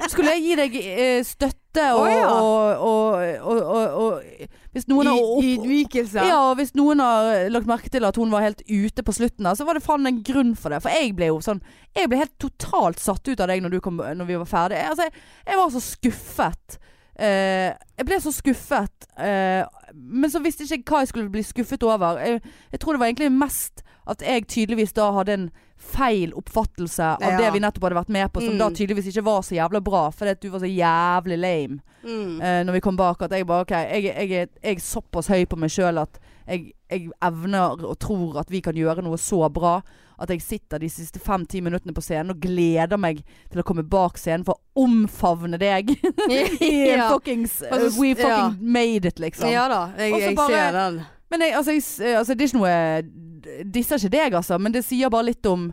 Skulle jeg gi deg eh, støtte og,
Å, ja.
og, og, og, og, og Hvis noen har opp...
Ydmykelse.
Ja, og hvis noen har eh, lagt merke til at hun var helt ute på slutten der, så var det faen en grunn for det. For jeg ble jo sånn Jeg ble helt totalt satt ut av deg når, du kom, når vi var ferdig. Jeg, altså, jeg, jeg var så skuffet. Eh, jeg ble så skuffet, eh, men så visste jeg ikke hva jeg skulle bli skuffet over. Jeg, jeg tror det var egentlig mest at jeg tydeligvis da hadde en feil oppfattelse av
Ja.
det vi nettopp hadde vært med på, som
Mm.
da tydeligvis ikke var så jævla bra, fordi at du var så jævlig lame
Mm.
eh, når vi kom bak at jeg bare OK, jeg, jeg, er- jeg er såpass høy på meg sjøl at jeg, jeg evner og tror at vi kan gjøre noe så bra at jeg sitter de siste fem-ti minuttene på scenen og gleder meg til å komme bak scenen for å omfavne deg. I
ja.
fuckings eh,
Altså,
We
ja.
fucking made it, liksom.
ja da, jeg,
Og så
jeg
bare-
ser den.
Men jeg, altså, jeg, s- eh, altså, det er ikke noe Disser ikke deg, altså, men det sier bare litt om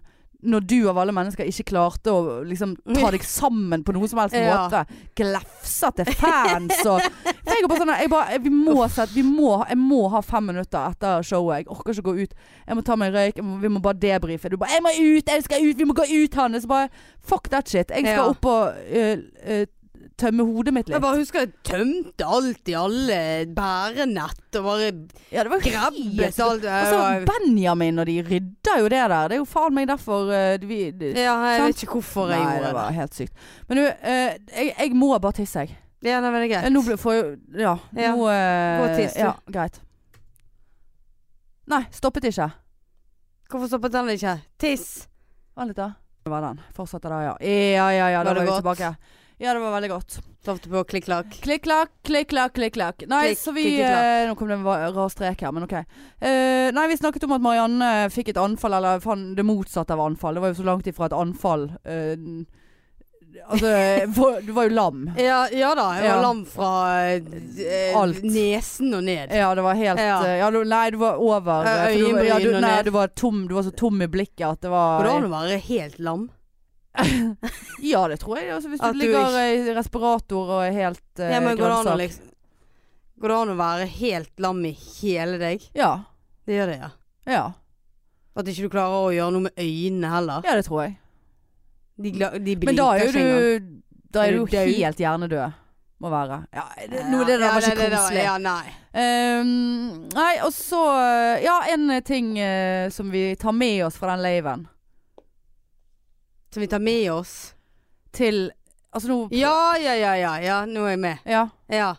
når du av alle mennesker ikke klarte å liksom, ta deg sammen på noen som helst
Ja.
måte. Glefsa til fans og For Jeg er bare sånn jeg bare, vi må sette, vi må, ha- Jeg må ha fem minutter etter showet. Jeg orker ikke å gå ut. Jeg må ta meg en røyk. Jeg må, vi må bare debrife. Du bare 'Jeg må ut! Jeg skal ut! Vi må gå ut, Hanne!' Så bare Fuck that shit. Jeg skal
Ja.
opp og eh, eh, tømme hodet mitt
Jeg
litt.
bare husker jeg tømte alt i alle bærenett og bare
Ja, det var helt
grabbet alt. Jeg
Altså,
Eh, var-
Benjamin og de rydder jo det der. Det er jo faen meg derfor eh, vi de,
ja, jeg
sant?
vet ikke hvorfor jeg
Nei, det
gjorde det.
var helt sykt. Men du, eh, jeg, jeg må bare tisse, jeg.
Ja, nei, men det er greit.
Nå ble- får jeg Ja.
Ja.
Nå, eh,
Gå og tiss, du.
Ja, greit. Nei, stoppet ikke.
Hvorfor stoppet den ikke? Tiss.
Vent litt, da. Det var den. Fortsetter der, ja. Ja, ja, ja. Da var
Var det
vi
godt?
tilbake. Ja, det var veldig godt.
Lovte på klikk-klakk.
Klikk, klakk, klikk, klakk, klikk, klakk. Nei,
Klikk,
så vi
klikk, klakk.
eh, Nå kom det en va- rar strek her, men OK. Eh, nei, vi snakket om at Marianne fikk et anfall, eller faen, det motsatte av anfall. Det var jo så langt ifra et anfall. eh, n- altså, for, du var jo lam.
Ja, ja da, jeg
Ja.
var lam fra eh,
Alt.
nesen og ned.
Ja, det var helt
Ja.
eh, ja, du, Nei, du var over.
Eh,
eh, for du, ja, du,
øyenbryn og
nei,
ned.
du var, tom, du var så tom i blikket at det
Går det
var
an å være helt lam?
Ja, det tror jeg. Altså, hvis du
At du
ligger
ikke-
eh, i respirator og er helt uh,
Ja, men går det an å liksom Går det an å være helt lam i hele deg?
Ja.
Det gjør det, ja.
Ja.
At ikke du klarer å gjøre noe med øynene heller.
ja, det tror jeg.
De, gla- de blinker
Men da er jo
ikke engang.
du Da er du jo
Er du død?
helt hjernedød. Må være. Ja, det,
Ja,
noe, det der
ja,
var ikke
det der-
koselig.
Ja, nei.
Ehm, nei, og så eh, Ja, en eh, ting eh, som vi tar med oss fra den laven
Som vi tar med oss.
til Altså nå
Ja, ja, ja, ja. ja nå er jeg med.
ja.
Ja.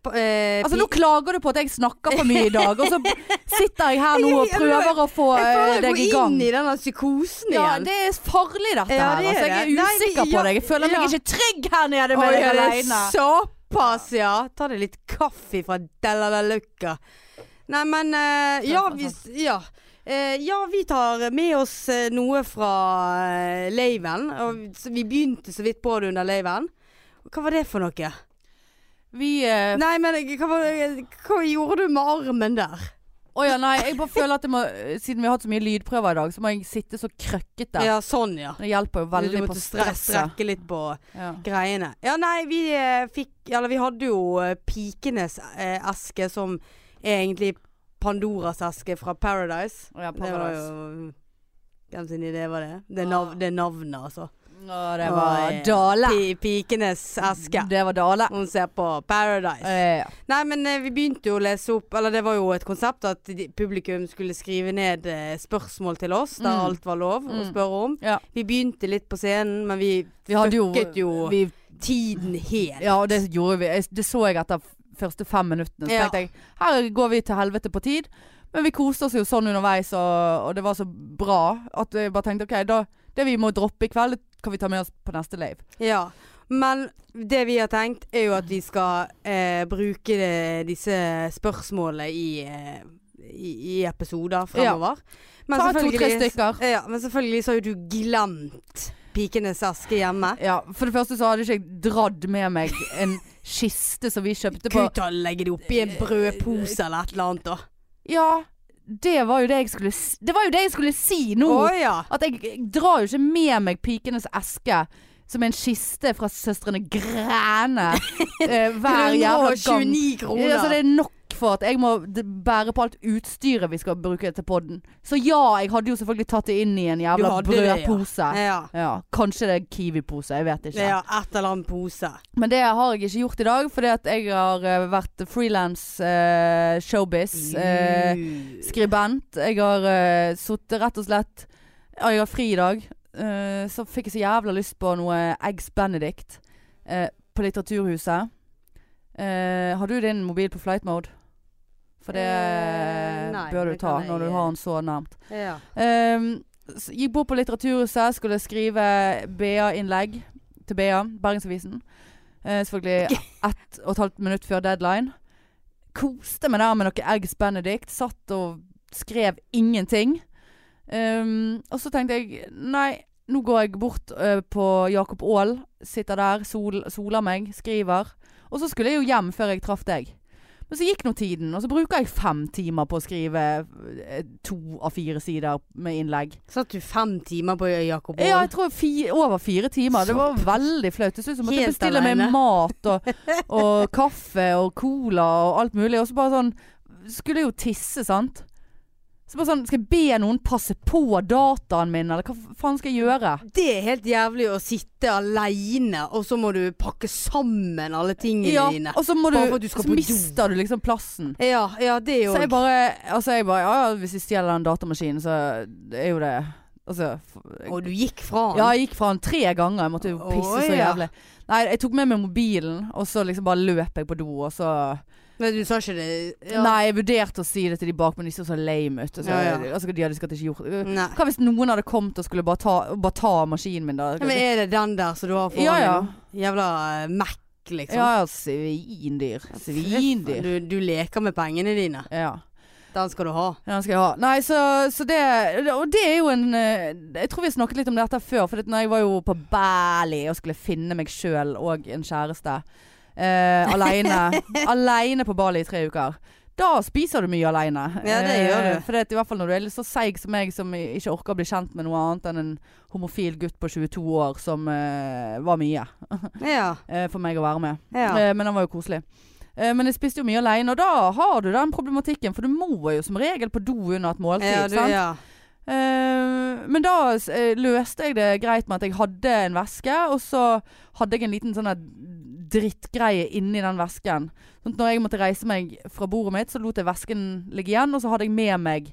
P- eh,
Altså
pi-
nå klager du på at jeg snakker for mye i dag, og så sitter jeg her nå og
Jeg- jeg- jeg-
prøver å få
jeg
eh,
føler jeg
deg i
går
gang.
inn i den der psykosen
Ja,
igjen.
det er farlig dette
Ja,
her.
det er
Altså, jeg
det.
er
Nei, vi-
usikker på
ja,
deg. Jeg føler meg
ja.
ikke trygg her nede med
Oi,
deg
er det
aleine.
Såpass, ja. Ta deg litt kaffe fra Della la Lucca. Nei, men eh, ja,
Sant,
vi,
sant.
ja. Eh, ja, vi tar med oss eh, noe fra uh, laven. og så Vi begynte så vidt på det under laven. Hva var det for noe?
Vi eh,
Nei, men hva, var, eh, hva gjorde du med armen der?
Å ja, nei. Jeg bare føler at jeg må Siden vi har hatt så mye lydprøver i dag, så må jeg sitte så krøkkete.
Ja, sånn, ja.
Det hjelper jo veldig
du måtte
på
stre-
stresset.
strekke litt på
Ja.
greiene. Ja, nei, vi eh, fikk Eller vi hadde jo eh, pikenes eh, eske, som er egentlig Pandoras eske fra Paradise.
Å, ja,
Det var
Paradise.
jo mm, Hvem sin idé var det? Det er,
Ah.
nav, det er navnet, altså.
Å, det
Å,
var
ja.
Dale.
Pi, pikenes eske.
Det var Dale.
Hun ser på Paradise.
Eh,
Nei, men eh, vi begynte jo å lese opp Eller det var jo et konsept at de, publikum skulle skrive ned eh, spørsmål til oss der
Mm.
alt var lov å
Mm.
spørre om.
Ja.
Vi begynte litt på scenen, men vi,
Vi hadde jo,
fucket jo
vi,
tiden helt.
Ja, og det gjorde vi. Jeg- Det så jeg etter f- første fem minuttene. Så
Ja.
tenkte jeg her går vi til helvete på tid. Men vi koste oss jo sånn underveis, og, og det var så bra at jeg bare tenkte OK, da, det vi må droppe i kveld, det kan vi ta med oss på neste lave.
Ja. Men det vi har tenkt, er jo at vi skal eh, bruke det, disse spørsmålene i, eh, i, i episoder fremover. Men
Ta to-tre
selvfølgelig-
stykker.
Ja, men selvfølgelig så har jo du glemt Pikenes eske hjemme.
Ja, For det første så hadde ikke jeg dratt med meg en kiste som vi kjøpte på
Kutt og legge det oppi
Eh,
en brødpose eller et eller annet, da.
Ja, det var jo det jeg skulle s- Det var jo det jeg skulle si nå!
Å ja.
At jeg, jeg drar jo ikke med meg pikenes eske som en kiste fra søstrene Græne eh, hver jævla gang.
129 kroner.
Ja, så det er nok for at jeg må d- bære på alt utstyret vi skal bruke til podden. Så ja, jeg hadde jo selvfølgelig tatt det inn i en jævla
hadde det, ja.
brødpose.
ja.
Ja, kanskje det er Kiwi-pose, jeg vet ikke.
ja, et eller annet pose.
Men det har jeg ikke gjort i dag, fordi at jeg har eh, vært frilans eh, showbiz. Eh, skribent. Jeg har uh, sittet rett og slett Ja, jeg har fri i dag. Eh, så fikk jeg så jævla lyst på noe Eggs Benedict eh, på Litteraturhuset. Eh, har du din mobil på flight mode? For det
Eh, nei,
bør du
det
ta
kan jeg-
når du har den så nærmt.
ja.
Ehm, s- gikk bort på Litteraturhuset, skulle skrive BA-innlegg til BA, Bergensavisen. Eh, selvfølgelig ett og et halvt minutt før deadline. Koste meg der med noe Eggs Benedict. Satt og skrev ingenting. Ehm, og så tenkte jeg nei, nå går jeg bort eh, på Jakob Aall. Sitter der, sol, soler meg, skriver. Og så skulle jeg jo hjem før jeg traff deg. Men så gikk nå tiden, og så bruker jeg fem timer på å skrive eh, to av fire sider med innlegg.
Satt du fem timer på Jakob
Ja,
Aall?
jeg tror fi, over fire timer. Det var veldig flaut. Det så ut som jeg måtte
Helt
bestille meg
alene.
mat og, og kaffe og cola og alt mulig. Og så bare sånn Skulle jo tisse, sant. Så bare sånn Skal jeg be noen passe på dataen min, eller hva faen skal jeg gjøre?
Det er helt jævlig å sitte aleine, og så må du pakke sammen alle tingene
Ja,
dine.
og så må du,
Bare for at du skal
så
på do.
mister du liksom plassen.
Ja, ja, det er jo
Så jeg bare, altså jeg bare Ja, ja, hvis vi stjeler den datamaskinen, så er jo det Altså f-
Og du gikk fra han.
Ja, jeg gikk fra den tre ganger. Jeg måtte jo
Å,
pisse så
ja.
jævlig. Nei, jeg tok med meg mobilen, og så liksom bare løp jeg på do, og så
Men du sa ikke det ja.
Nei, jeg vurderte å si det til de bak, men de så så lame ut. og Så,
Ja, ja.
Altså, de hadde sikkert ikke gjort det.
Nei.
Hva hvis noen hadde kommet og skulle bare ta, bare ta maskinen min, da?
Ja, Men er det den der som du har foran
Ja, ja.
deg? nå? Jævla eh, Mac, liksom.
Ja, ja, svindyr. Svindyr.
Du, du leker med pengene dine.
Ja.
Den skal du ha.
Ja, den skal jeg ha. Nei, så, så det Og det er jo en eh, Jeg tror vi har snakket litt om dette før. For at når jeg var jo på Bali og skulle finne meg sjøl og en kjæreste eh, aleine. aleine på Bali i tre uker. Da spiser du mye aleine.
Ja, det gjør du.
for det, at i hvert fall når du er litt så seig som meg, som ikke orker å bli kjent med noe annet enn en homofil gutt på 22 år, som eh, var mye
Ja.
eh, for meg å være med.
ja.
Eh, Men den var jo koselig. Eh, Men jeg spiste jo mye alene, og da har du den problematikken. For du må jo som regel på do under et måltid.
ja, du,
sant?
ja.
Eh, men da s- eh, løste jeg det greit med at jeg hadde en veske, og så hadde jeg en liten sånn her drittgreie inni den vesken. Sånn at når jeg måtte reise meg fra bordet mitt, så lot jeg vesken ligge igjen, og så hadde jeg med meg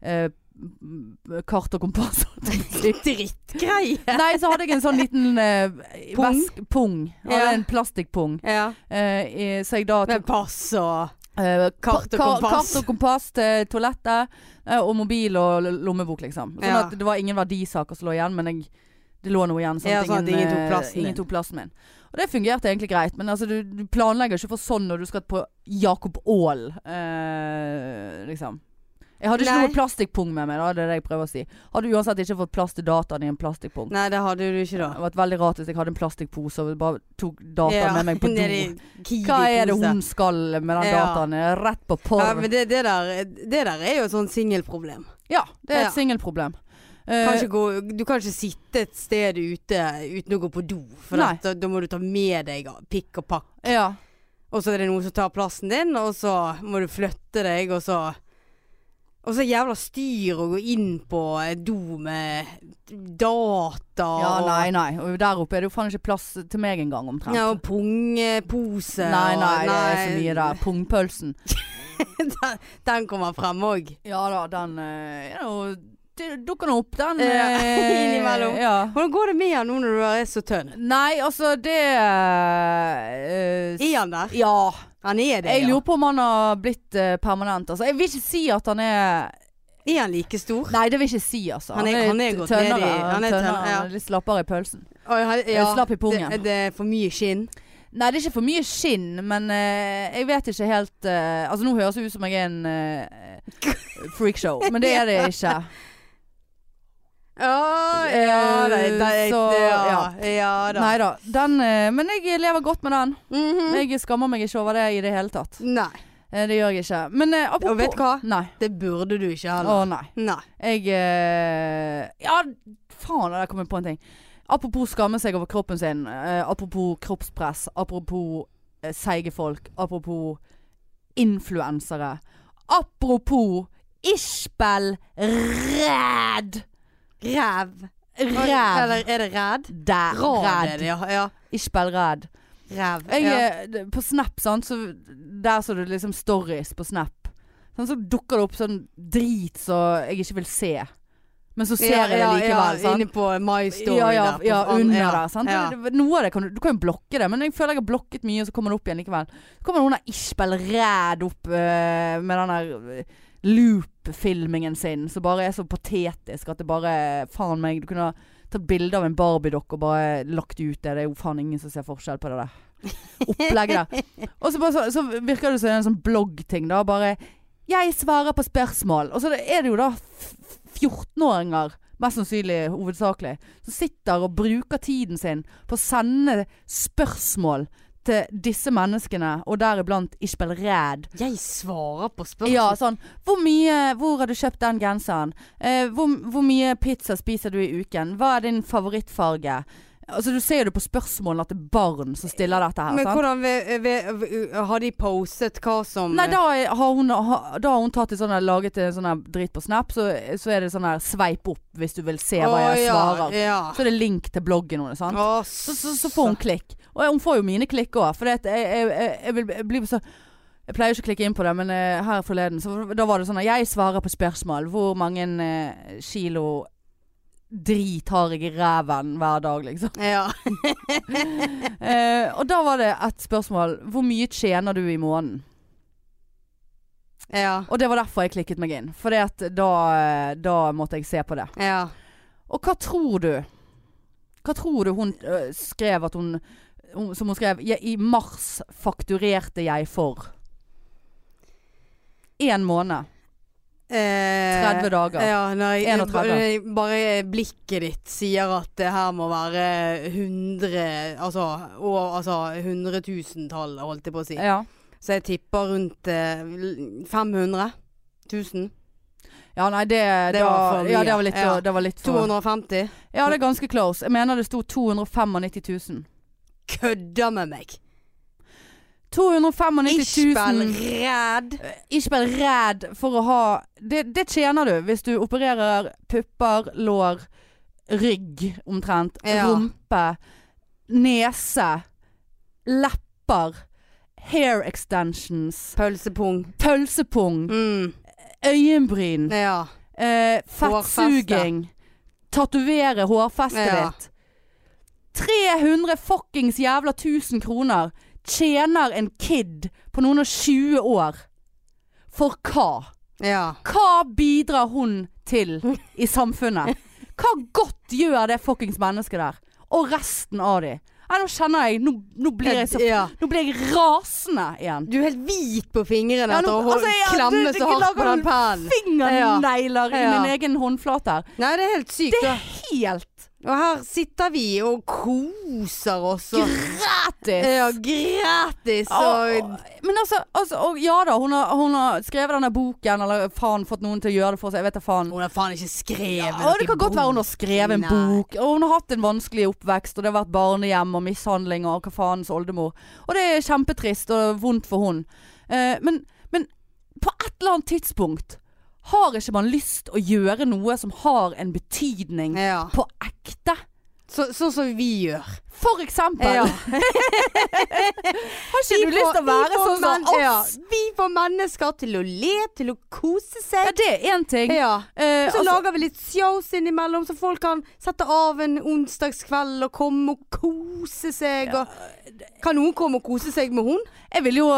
eh, m- kart og kompass.
Drittgreie.
Nei, så hadde jeg en sånn liten eh,
Pung?
vesk... Pung. Jeg Hadde
Ja.
en plastikkpung.
Ja.
Eh, i- så jeg da tok
Med pass og
Eh,
Kart og
ka- ka-
kompass.
Kart og kompass til toalettet, eh, og mobil og l- lommebok, liksom. Sånn
Ja.
at det var ingen verdisaker som lå igjen, men jeg, det lå noe igjen. Sånn
Ja,
at
sånn at ingen tok
eh,
plassen
ingen
din.
tok plassen min. Og det fungerte egentlig greit, men altså, du, du planlegger ikke for sånn når du skal på Jakob Aall, eh, liksom. Jeg hadde ikke
Nei.
noe plastikkpung med meg, da, det er det jeg prøver å si. Hadde uansett ikke fått plass til dataen i en plastikkpung.
Nei, det hadde du ikke da.
Det hadde vært veldig rart hvis jeg hadde en plastikkpose og bare tok dataen med meg på do.
nede i Kiwi-pose.
Hva er det hun skal med den
Ja.
dataen? Rett på porr.
Ja, men det, det, der, det der er jo et sånn singelproblem.
Ja, det er et
Ja.
singelproblem.
Kan
Eh,
ikke gå- Du kan ikke sitte et sted ute uten å gå på do, for
Nei.
at da- da må du ta med deg pikk og pakk.
ja.
Og så er det noen som tar plassen din, og så må du flytte deg, og så Og så jævla styr å gå inn på et do med data
ja, nei, nei. Og der oppe er det jo faen ikke plass til meg engang,
og
omtrent.
ja, og pungepose.
nei, nei,
og-
det er så mye der. Pungpølsen.
den, den kommer frem òg.
Ja da, den eh, er jo det dukker nå opp, den.
Ja,
eh,
innimellom.
Ja.
Hvordan går det med han nå når du er så tønn?
Nei, altså, det eh,
Er han der?
Ja.
Han er det,
Jeg
ja.
lurer på om han har blitt eh, permanent. Altså, jeg vil ikke si at han er
Er han like stor?
Nei, det vil jeg ikke si, altså.
Han er- han er gått ned i- han er
tønnere,
tønner, ja.
han er litt slappere i pølsen.
Oi, han-
Eh, slapp i pungen.
Det, det er for mye skinn.
Nei, det er ikke for mye skinn, men eh, jeg vet ikke helt eh, Altså, nå høres det ut som jeg er en eh, freakshow, men det er det ikke.
Ja,
ja,
det,
det- det- det- ja.
Eh, ja, ja da.
Nei da. Den eh, Men jeg lever godt med den.
Mhm.
Jeg skammer meg ikke over det i det hele tatt.
Nei.
Eh, det gjør jeg ikke. Men eh, apropos
Og vet du hva?
Nei.
Det burde du ikke
Å,
heller.
nei.
Nei.
Jeg eh, Ja, faen, der kom jeg på en ting. Apropos skamme seg over kroppen sin. eh, apropos kroppspress. Apropos eh, seige folk. Apropos influensere. Apropos Ishbel Ræd.
Ræv.
Ræv.
Eller er det ræd?
Der.
Ræd er
Ræd.
det, ja. ja.
Ishbel Ræd.
Ræv.
Jeg,
ja.
eh, d- På Snap, sant, så der så du liksom stories på Snap. Sånn, så dukker det opp sånn drit som jeg ikke vil se. Men så ser jeg det
Ja, ja,
likevel.
Ja,
sant?
inne på My Story
ja, ja,
der. på
ja,
faen.
under
Ja.
der. Sant?
Ja.
Det- det- Noe av det kan du, du kan jo blokke det, men jeg føler jeg har blokket mye, og så kommer det opp igjen likevel. Så kommer hun der Ishbel Ræd opp eh, med den der eh, loop-filmingen sin, som bare er så patetisk at det bare Faen meg, du kunne ha tatt bilde av en Barbie-dokke og bare lagt ut det. Det er jo faen ingen som ser forskjell på det der. Opplegget der. Og så, bare, så, så virker det som en sånn bloggting, da. Bare 'Jeg svarer på spørsmål'. Og så er det jo da f- f- 14-åringer, mest sannsynlig hovedsakelig, som sitter og bruker tiden sin på å sende spørsmål til disse menneskene, og deriblant Ishbel Ræd.
Jeg svarer på spørsmål.
Ja, sånn Hvor mye Hvor har du kjøpt den genseren? Eh, hvor, hvor mye pizza spiser du i uken? Hva er din favorittfarge? Altså Du ser jo det på spørsmålene at det er barn som stiller dette her.
Men
sant?
hvordan ve- ve- ve- Har de postet hva som
Nei, da er- har hun, ha- da har hun tatt et sånn her- laget en sånn her drit på Snap, så, så er det sånn her sveip opp hvis du vil se hva jeg
Å,
svarer.
Ja.
Så er det link til bloggen hennes, sant.
Å,
Så, så, så får hun klikk. Og hun får jo mine klikk òg, for det at jeg, jeg, jeg, jeg, vil- jeg blir så jeg pleier jo ikke å klikke inn på det, men eh, her forleden så, Da var det sånn at jeg svarer på spørsmål. Hvor mange eh, kilo drit har jeg i ræven hver dag, liksom?
ja.
Eh, og da var det et spørsmål. Hvor mye tjener du i måneden?
Ja.
Og det var derfor jeg klikket meg inn. For da, eh, da måtte jeg se på det.
Ja.
Og hva tror du? Hva tror du hun øh, skrev at hun, hun Som hun skrev «Jeg- I mars fakturerte jeg for Én måned.
Eh,
30 dager.
Ja, nei,
31.
nei, bare blikket ditt sier at det her må være 100 Altså, og, altså 100 000-tall, holdt jeg på å si.
Ja.
Så jeg tipper rundt eh, 500 000.
ja, nei, det,
Det
da,
var for mye.
Ja, det var litt,
Ja.
Det var litt for
250.
Ja, det er ganske close. Jeg mener det sto 295 000.
Kødder med meg!
295
Ishbel
000
redd.
Ikke vær redd for å ha det, det tjener du hvis du opererer pupper, lår, rygg omtrent,
Ja.
rumpe, nese, lepper, hair extensions,
Pølsepung.
pølsepung,
Mm.
øyenbryn,
Ja.
eh, fettsuging, tatovere hårfestet
Ja.
ditt. 300 fuckings jævla 1000 kroner tjener en kid på noen og 20 år. For hva?
Ja.
Hva bidrar hun til i samfunnet? Hva godt gjør det fuckings mennesket der? Og resten av de? Nei, nå kjenner jeg Nå, nå, blir, jeg så,
ja.
nå blir jeg rasende igjen.
Du er helt hvit på fingrene
Ja,
etter
nå-
å holde,
altså, jeg- du-
klemme
du
så hardt på
lager
den pennen.
Fingernegler i
Ja.
min egen håndflate her.
Nei, det er helt sykt. da.
Helt
Og her sitter vi og koser oss. Og,
gratis!
ja, gratis. Og,
Men altså, altså og ja da, hun har, hun har skrevet denne boken, eller faen fått noen til å gjøre det for seg, jeg vet da faen.
hun har faen ikke skrevet
Ja, og det kan godt være hun har skrevet en
Nei.
bok, og hun har hatt en vanskelig oppvekst, og det har vært barnehjem og mishandling og hva faens oldemor. Og det er kjempetrist og vondt for hun. Eh, men, men på et eller annet tidspunkt har ikke man lyst å gjøre noe som har en betydning
Ja.
på ekte.
Så, sånn som vi gjør.
For eksempel.
Ja.
Har ikke du lyst til å være sånn som oss?
Ja,
Ja.
vi får mennesker til å le, til å kose seg.
det er én ting.
Ja.
Eh,
Og så
altså-
lager vi litt shows innimellom, så folk kan sette av en onsdagskveld og komme og kose seg. Og... Kan noen komme og kose seg med hun?
Jeg ville jo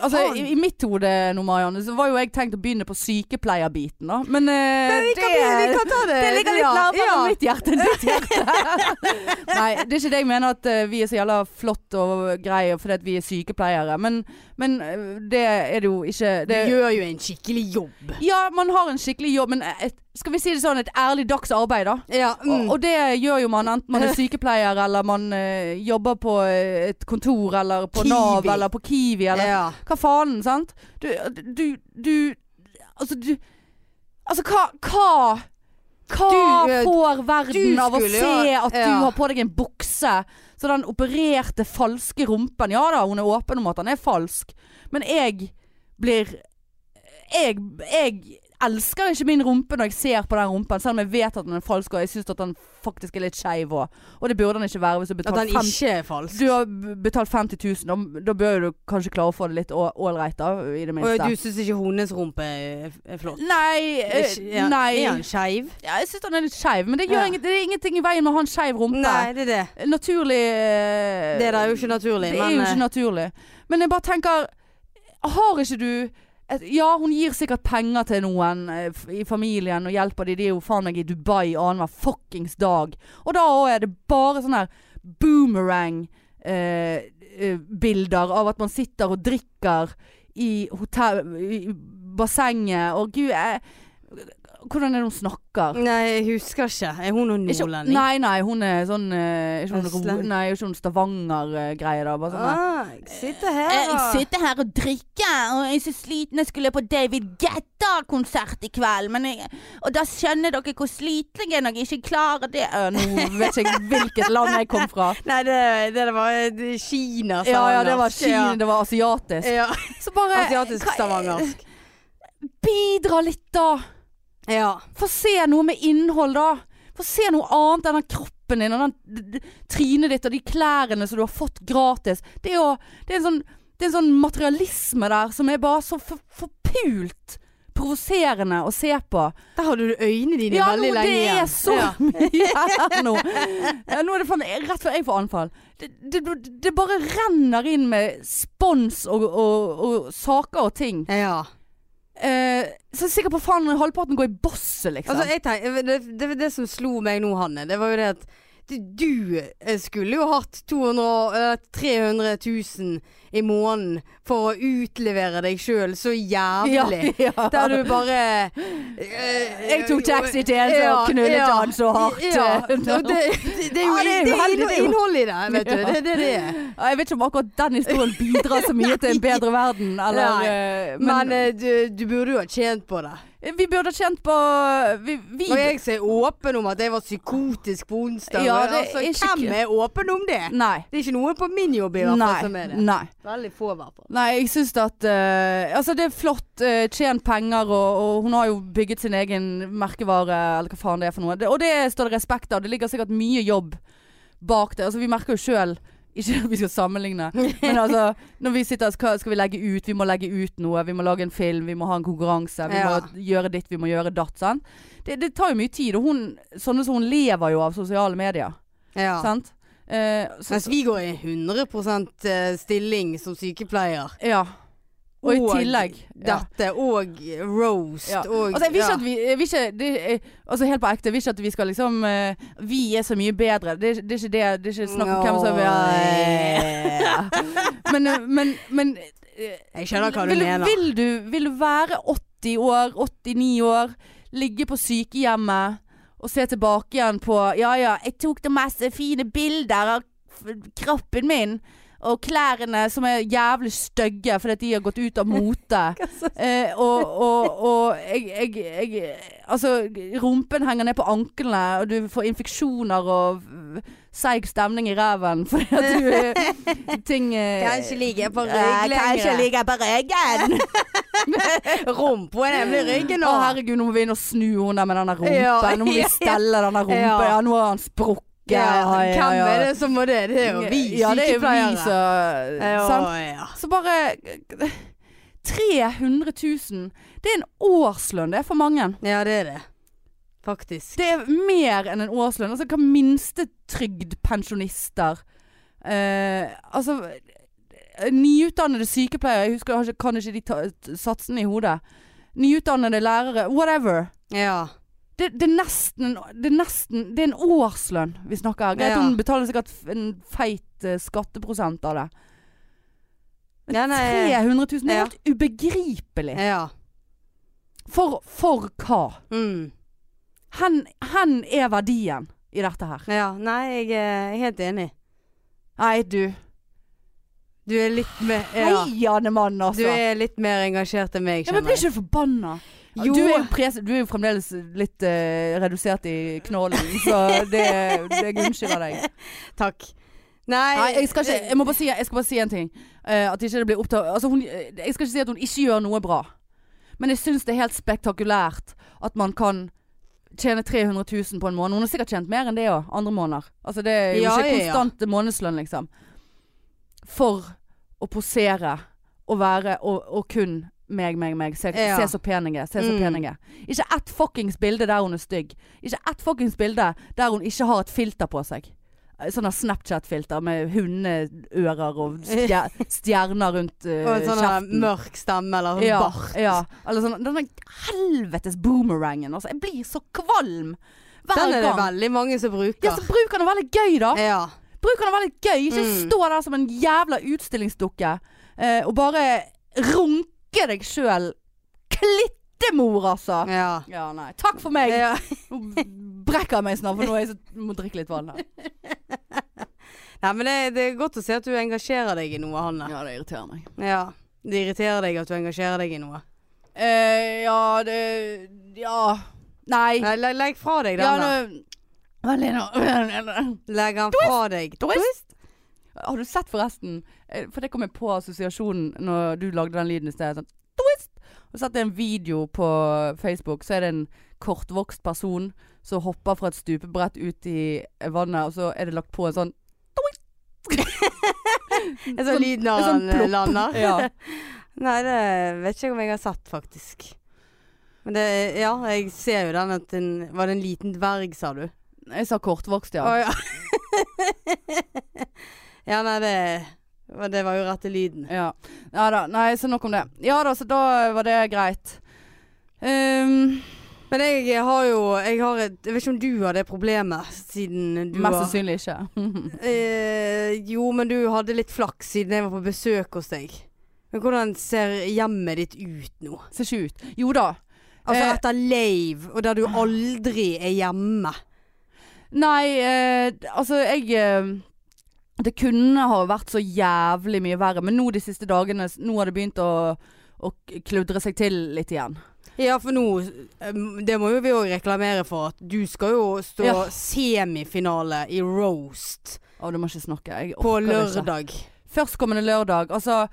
Altså,
Faen.
i, i mitt hode nå, Marianne, så var jo jeg tenkt å begynne på sykepleierbiten, da. Men, eh,
Men vi,
det
kan, bli- vi kan ta det.
Det ligger litt
Ja,
nærmere
ja.
mitt hjerte enn ditt hjerte. Nei, det er ikke det jeg mener at eh, vi er så jævla flott og greie fordi at vi er sykepleiere, men, men eh, det er det jo ikke det,
Du gjør jo en skikkelig jobb.
Ja, man har en skikkelig jobb, men eh, et, skal vi si det sånn, et ærlig dags arbeid, da.
Ja, mm.
Og, og det gjør jo man enten man er sykepleier eller man eh, jobber på eh, et kontor eller på
Kiwi.
Nav eller på Kiwi eller
ja.
Hva faen, sant? Du, du, du Altså, du Altså, hva Hva, hva
Du, eh,
får verden
du
av å
skulle
se
jo-
at
ja.
du har på deg en bukse? Så den opererte falske rumpen Ja da, hun er åpen om at den er falsk, men jeg blir Jeg, jeg elsker ikke min rumpe når jeg ser på den rumpen, selv om jeg vet at den er falsk, og jeg syns at den faktisk er litt skeiv òg. Og det burde den ikke være hvis du
At
betaler
den
50
ikke er falsk.
du har b- betalt 50 000, da, da bør du kanskje klare å få det litt å- ålreit, da. I det
Og
minste.
du syns ikke hennes rumpe er er flott?
Nei, eh,
Ikke- ja,
nei.
Er han skeiv?
Ja, jeg syns han er litt skeiv, men det, gjør
Ja.
ingenting- det er ingenting i veien med å ha en skeiv rumpe.
det er det.
Naturlig eh,
Det der er jo ikke naturlig.
Det
men,
er jo
eh,
ikke naturlig. Men jeg bare tenker Har ikke du et, Ja, hun gir sikkert penger til noen eh, f- i familien og hjelper de. De er jo faen meg i Dubai annenhver fuckings dag. Og da òg er det bare sånn her boomerang eh, eh, bilder av at man sitter og drikker i hotell... I i bassenget og gud jeg, Hvordan er det hun snakker?
Nei, jeg husker ikke. Er hun noen
Ikke-
nordlending?
Nei, nei, hun er sånn eh, Ikke hun, ro-
Østlending.
nei, ikke hun Stavanger-greie, da. Bare sånn her.
Ah, jeg sitter her
Eh, Jeg
og
sitter her og drikker, og jeg er så sliten. Jeg skulle på David Guetta-konsert i kveld, men jeg, og da skjønner dere hvor sliten jeg er når jeg ikke klarer det. Øh, nå vet ikke jeg hvilket land jeg kom fra.
Nei, det, det, der var eh, det- Kina.
Ja, ja, det var
stavangersk.
Kina, det var asiatisk.
Ja. Ja.
Så bare
Asiatisk
hva-
stavangersk.
Bidra litt, da.
Ja.
Få se noe med innhold, da. Få se noe annet enn den kroppen din og den d- d- trynet ditt og de klærne som du har fått gratis. Det er jo det er en sånn, det er en sånn materialisme der som er bare så for, forpult provoserende å se på.
Der hadde du øynene dine
Ja, nå,
veldig lenge
det
igjen.
er så
Ja.
mye her nå. Ja, nå er det faen meg rett før jeg får anfall. Det, det, det bare renner inn med spons og, og, og saker og ting.
ja.
Eh, så sikkert på faen halvparten går i bosset, liksom.
Altså, jeg tenker, det, det, det som slo meg nå, Hanne, det var jo det at du, du eh, skulle jo hatt 200, og- eller 300 000 i måneden for å utlevere deg sjøl så jævlig.
Ja, ja.
Der du bare eh,
Jeg tok taxi til en som knullet han så hardt. eh,
Ja, og det, det, det er jo
Ja, det er
det er
uheldig, det er jo-
innholdet i det, vet du.
Ja.
Det er det det er.
Ja, Jeg vet ikke om akkurat den historien bidrar så mye til en bedre verden, eller
Nei.
eh,
Men, eh, du, du burde jo ha tjent på det.
Vi burde kjent på Vi, vi
Og jeg som er åpen om at jeg var psykotisk på onsdag.
Ja,
og
det
altså,
er ikke
hvem
kult.
er åpen om det?
Nei.
Det er ikke noen på min jobb i hvert
Nei.
fall som er det.
Nei.
Veldig få, i hvert fall.
Nei, jeg syns at eh, Altså, det er flott. eh, tjent penger, og, og hun har jo bygget sin egen merkevare, eller hva faen det er for noe. Det, og det står det respekt av. Det ligger sikkert mye jobb bak det. Altså, vi merker jo sjøl ikke at vi skal sammenligne, men altså når vi sitter Hva skal vi legge ut? Vi må legge ut noe. Vi må lage en film. Vi må ha en konkurranse. Vi
Ja.
må gjøre ditt, vi må gjøre datt. Sant? Det, det tar jo mye tid. Og hun, sånne som hun lever jo av sosiale medier.
Ja.
Sant? Eh, så,
Mens vi går i 100 stilling som sykepleier.
ja. Og i tillegg ja.
Dette, og roast,
Ja.
og
Altså, jeg vil ikke
ja.
at vi, jeg vil ikke, det, er- altså helt på ekte, jeg vil ikke at vi skal liksom eh, Vi er så mye bedre. Det, er- det er ikke det. Det er ikke snakk om hvem som er Men, eh, men, men eh,
Jeg skjønner hva du
vil,
mener.
Vil du, vil du være 80 år, 89 år, ligge på sykehjemmet og se tilbake igjen på Ja ja, jeg tok det mest fine bilder av f- kroppen min. Og klærne som er jævlig stygge fordi at de har gått ut av mote. Eh, og og, og jeg, jeg, jeg Altså, rumpen henger ned på anklene, og du får infeksjoner og øh, seig stemning i ræven fordi at du øh, Ting eh,
Kanskje ligger jeg på
eh,
rygg
Kanskje
lenger.
ligger på ryggen!
Rumpa er nemlig ryggen
Å,
nå.
herregud, nå må vi inn og snu henne der med den der rumpen.
Ah. Ja,
Nå må vi
ja,
stelle den der rumpen.
Ja.
Ja, nå har han sprukket.
Ja,
Ja, ja,
Hvem
ja.
er det som må det? Det er jo vi
Ja, det er jo vi
sykepleiere.
som
Ja,
sant?
ja.
Så bare 300 000. Det er en årslønn, det, er for mange.
ja, det er det. Faktisk.
Det er mer enn en årslønn. Altså, hva minste trygd pensjonister eh, Altså Nyutdannede sykepleiere, jeg husker, jeg har ikke- kan ikke de ta- t- satsene i hodet. Nyutdannede lærere, whatever.
Ja.
Det, det, er nesten, det er nesten Det er en årslønn vi snakker her. Greit,
Ja.
hun betaler sikkert f- en feit eh, skatteprosent av det.
Ja, nei, eh,
300 000, det er
Ja.
helt ubegripelig.
ja.
For, for hva?
Mm.
Hen, hen er verdien i dette her.
ja. Nei, jeg er helt enig.
Nei, du.
Du er litt mer ja.
Heiende mann, altså.
Du er litt mer engasjert enn meg,
ja, men blir
kjenner
ikke
jeg.
du forbanna?
Jo.
Du er jo, pres du er jo fremdeles litt eh, redusert i knollen, så det, det unnskylder deg.
Takk. Nei,
Nei, jeg skal ikke Jeg må bare si, jeg skal bare si en ting. Eh, at ikke det blir opptatt altså, hun, eh, Jeg skal ikke si at hun ikke gjør noe bra. Men jeg syns det er helt spektakulært at man kan tjene 300 000 på en måned. Hun har sikkert tjent mer enn det òg, andre måneder. Altså det er jo
Ja,
ikke
ja, ja.
konstant månedslønn, liksom. For å posere og være og, og kun meg, meg, meg. Se,
Ja.
se så pen jeg er. Se så
Mm.
pen jeg er. Ikke ett fuckings bilde der hun er stygg. Ikke ett fuckings bilde der hun ikke har et filter på seg. Sånn Snapchat-filter med hundeører og stjer stjerner rundt eh,
Og en sånn her
kjeften.
mørk stemme eller sånn
Ja,
bart.
ja. Eller sånn Denne helvetes boomerangen. Altså, jeg blir så kvalm hver
Den er det
gang.
veldig mange som bruker.
ja, så bruk den og vær litt gøy, da.
ja.
Bruk den og vær litt gøy. Ikke
Mm.
stå der som en jævla utstillingsdukke eh, og bare runke deg sjøl. Klittemor, altså.
ja.
Ja, nei. Takk for meg.
Ja.
Nå brekker jeg meg snart, for nå er jeg så, må drikke litt vann her.
Nei, men det, det er godt å se at du engasjerer deg i noe, Hanne.
Ja, det irriterer meg.
Ja. Det irriterer deg at du engasjerer deg i noe.
Eh, ja, det Ja. Nei.
Nei, le- legg fra deg
ja,
den der.
nå- Vent litt nå.
Legg den fra deg.
Har du sett forresten eh, For det kom jeg på assosiasjonen når du lagde den lyden i sted. Sånn, twist! Og så satt det en video på Facebook, så er det en kortvokst person som hopper fra et stupebrett ut i vannet, og så er det lagt på en sånn
Det er sånn lyden når
sånn
han
plopp.
eh, lander.
Ja.
Nei, det vet ikke om jeg har sett, faktisk. Men det, ja, jeg ser jo den at den Var det en liten dverg, sa du?
Jeg sa kortvokst, ja.
Å, ja. ja, nei, det Det var jo rette lyden.
Ja. ja da. Nei, så nok om det. Ja da, så da var det greit. Um,
Men jeg har jo jeg, har et, jeg vet ikke om du har det problemet, siden du
mest
har
sannsynlig ikke.
eh, Jo, men du hadde litt flaks siden jeg var på besøk hos deg. Men hvordan ser hjemmet ditt ut nå?
Ser ikke ut. Jo da.
Altså
Eh,
etter lave, og der du aldri er hjemme.
Nei, eh, altså jeg eh, Det kunne ha vært så jævlig mye verre, men nå de siste dagene s- Nå har det begynt å, og kludre seg til litt igjen.
Ja, for nå um, Det må jo vi òg reklamere for. At du skal jo stå
Ja.
semifinale i roast
Å, du må ikke snakke. Jeg
på
orker det ikke.
lørdag.
Førstkommende lørdag. Altså,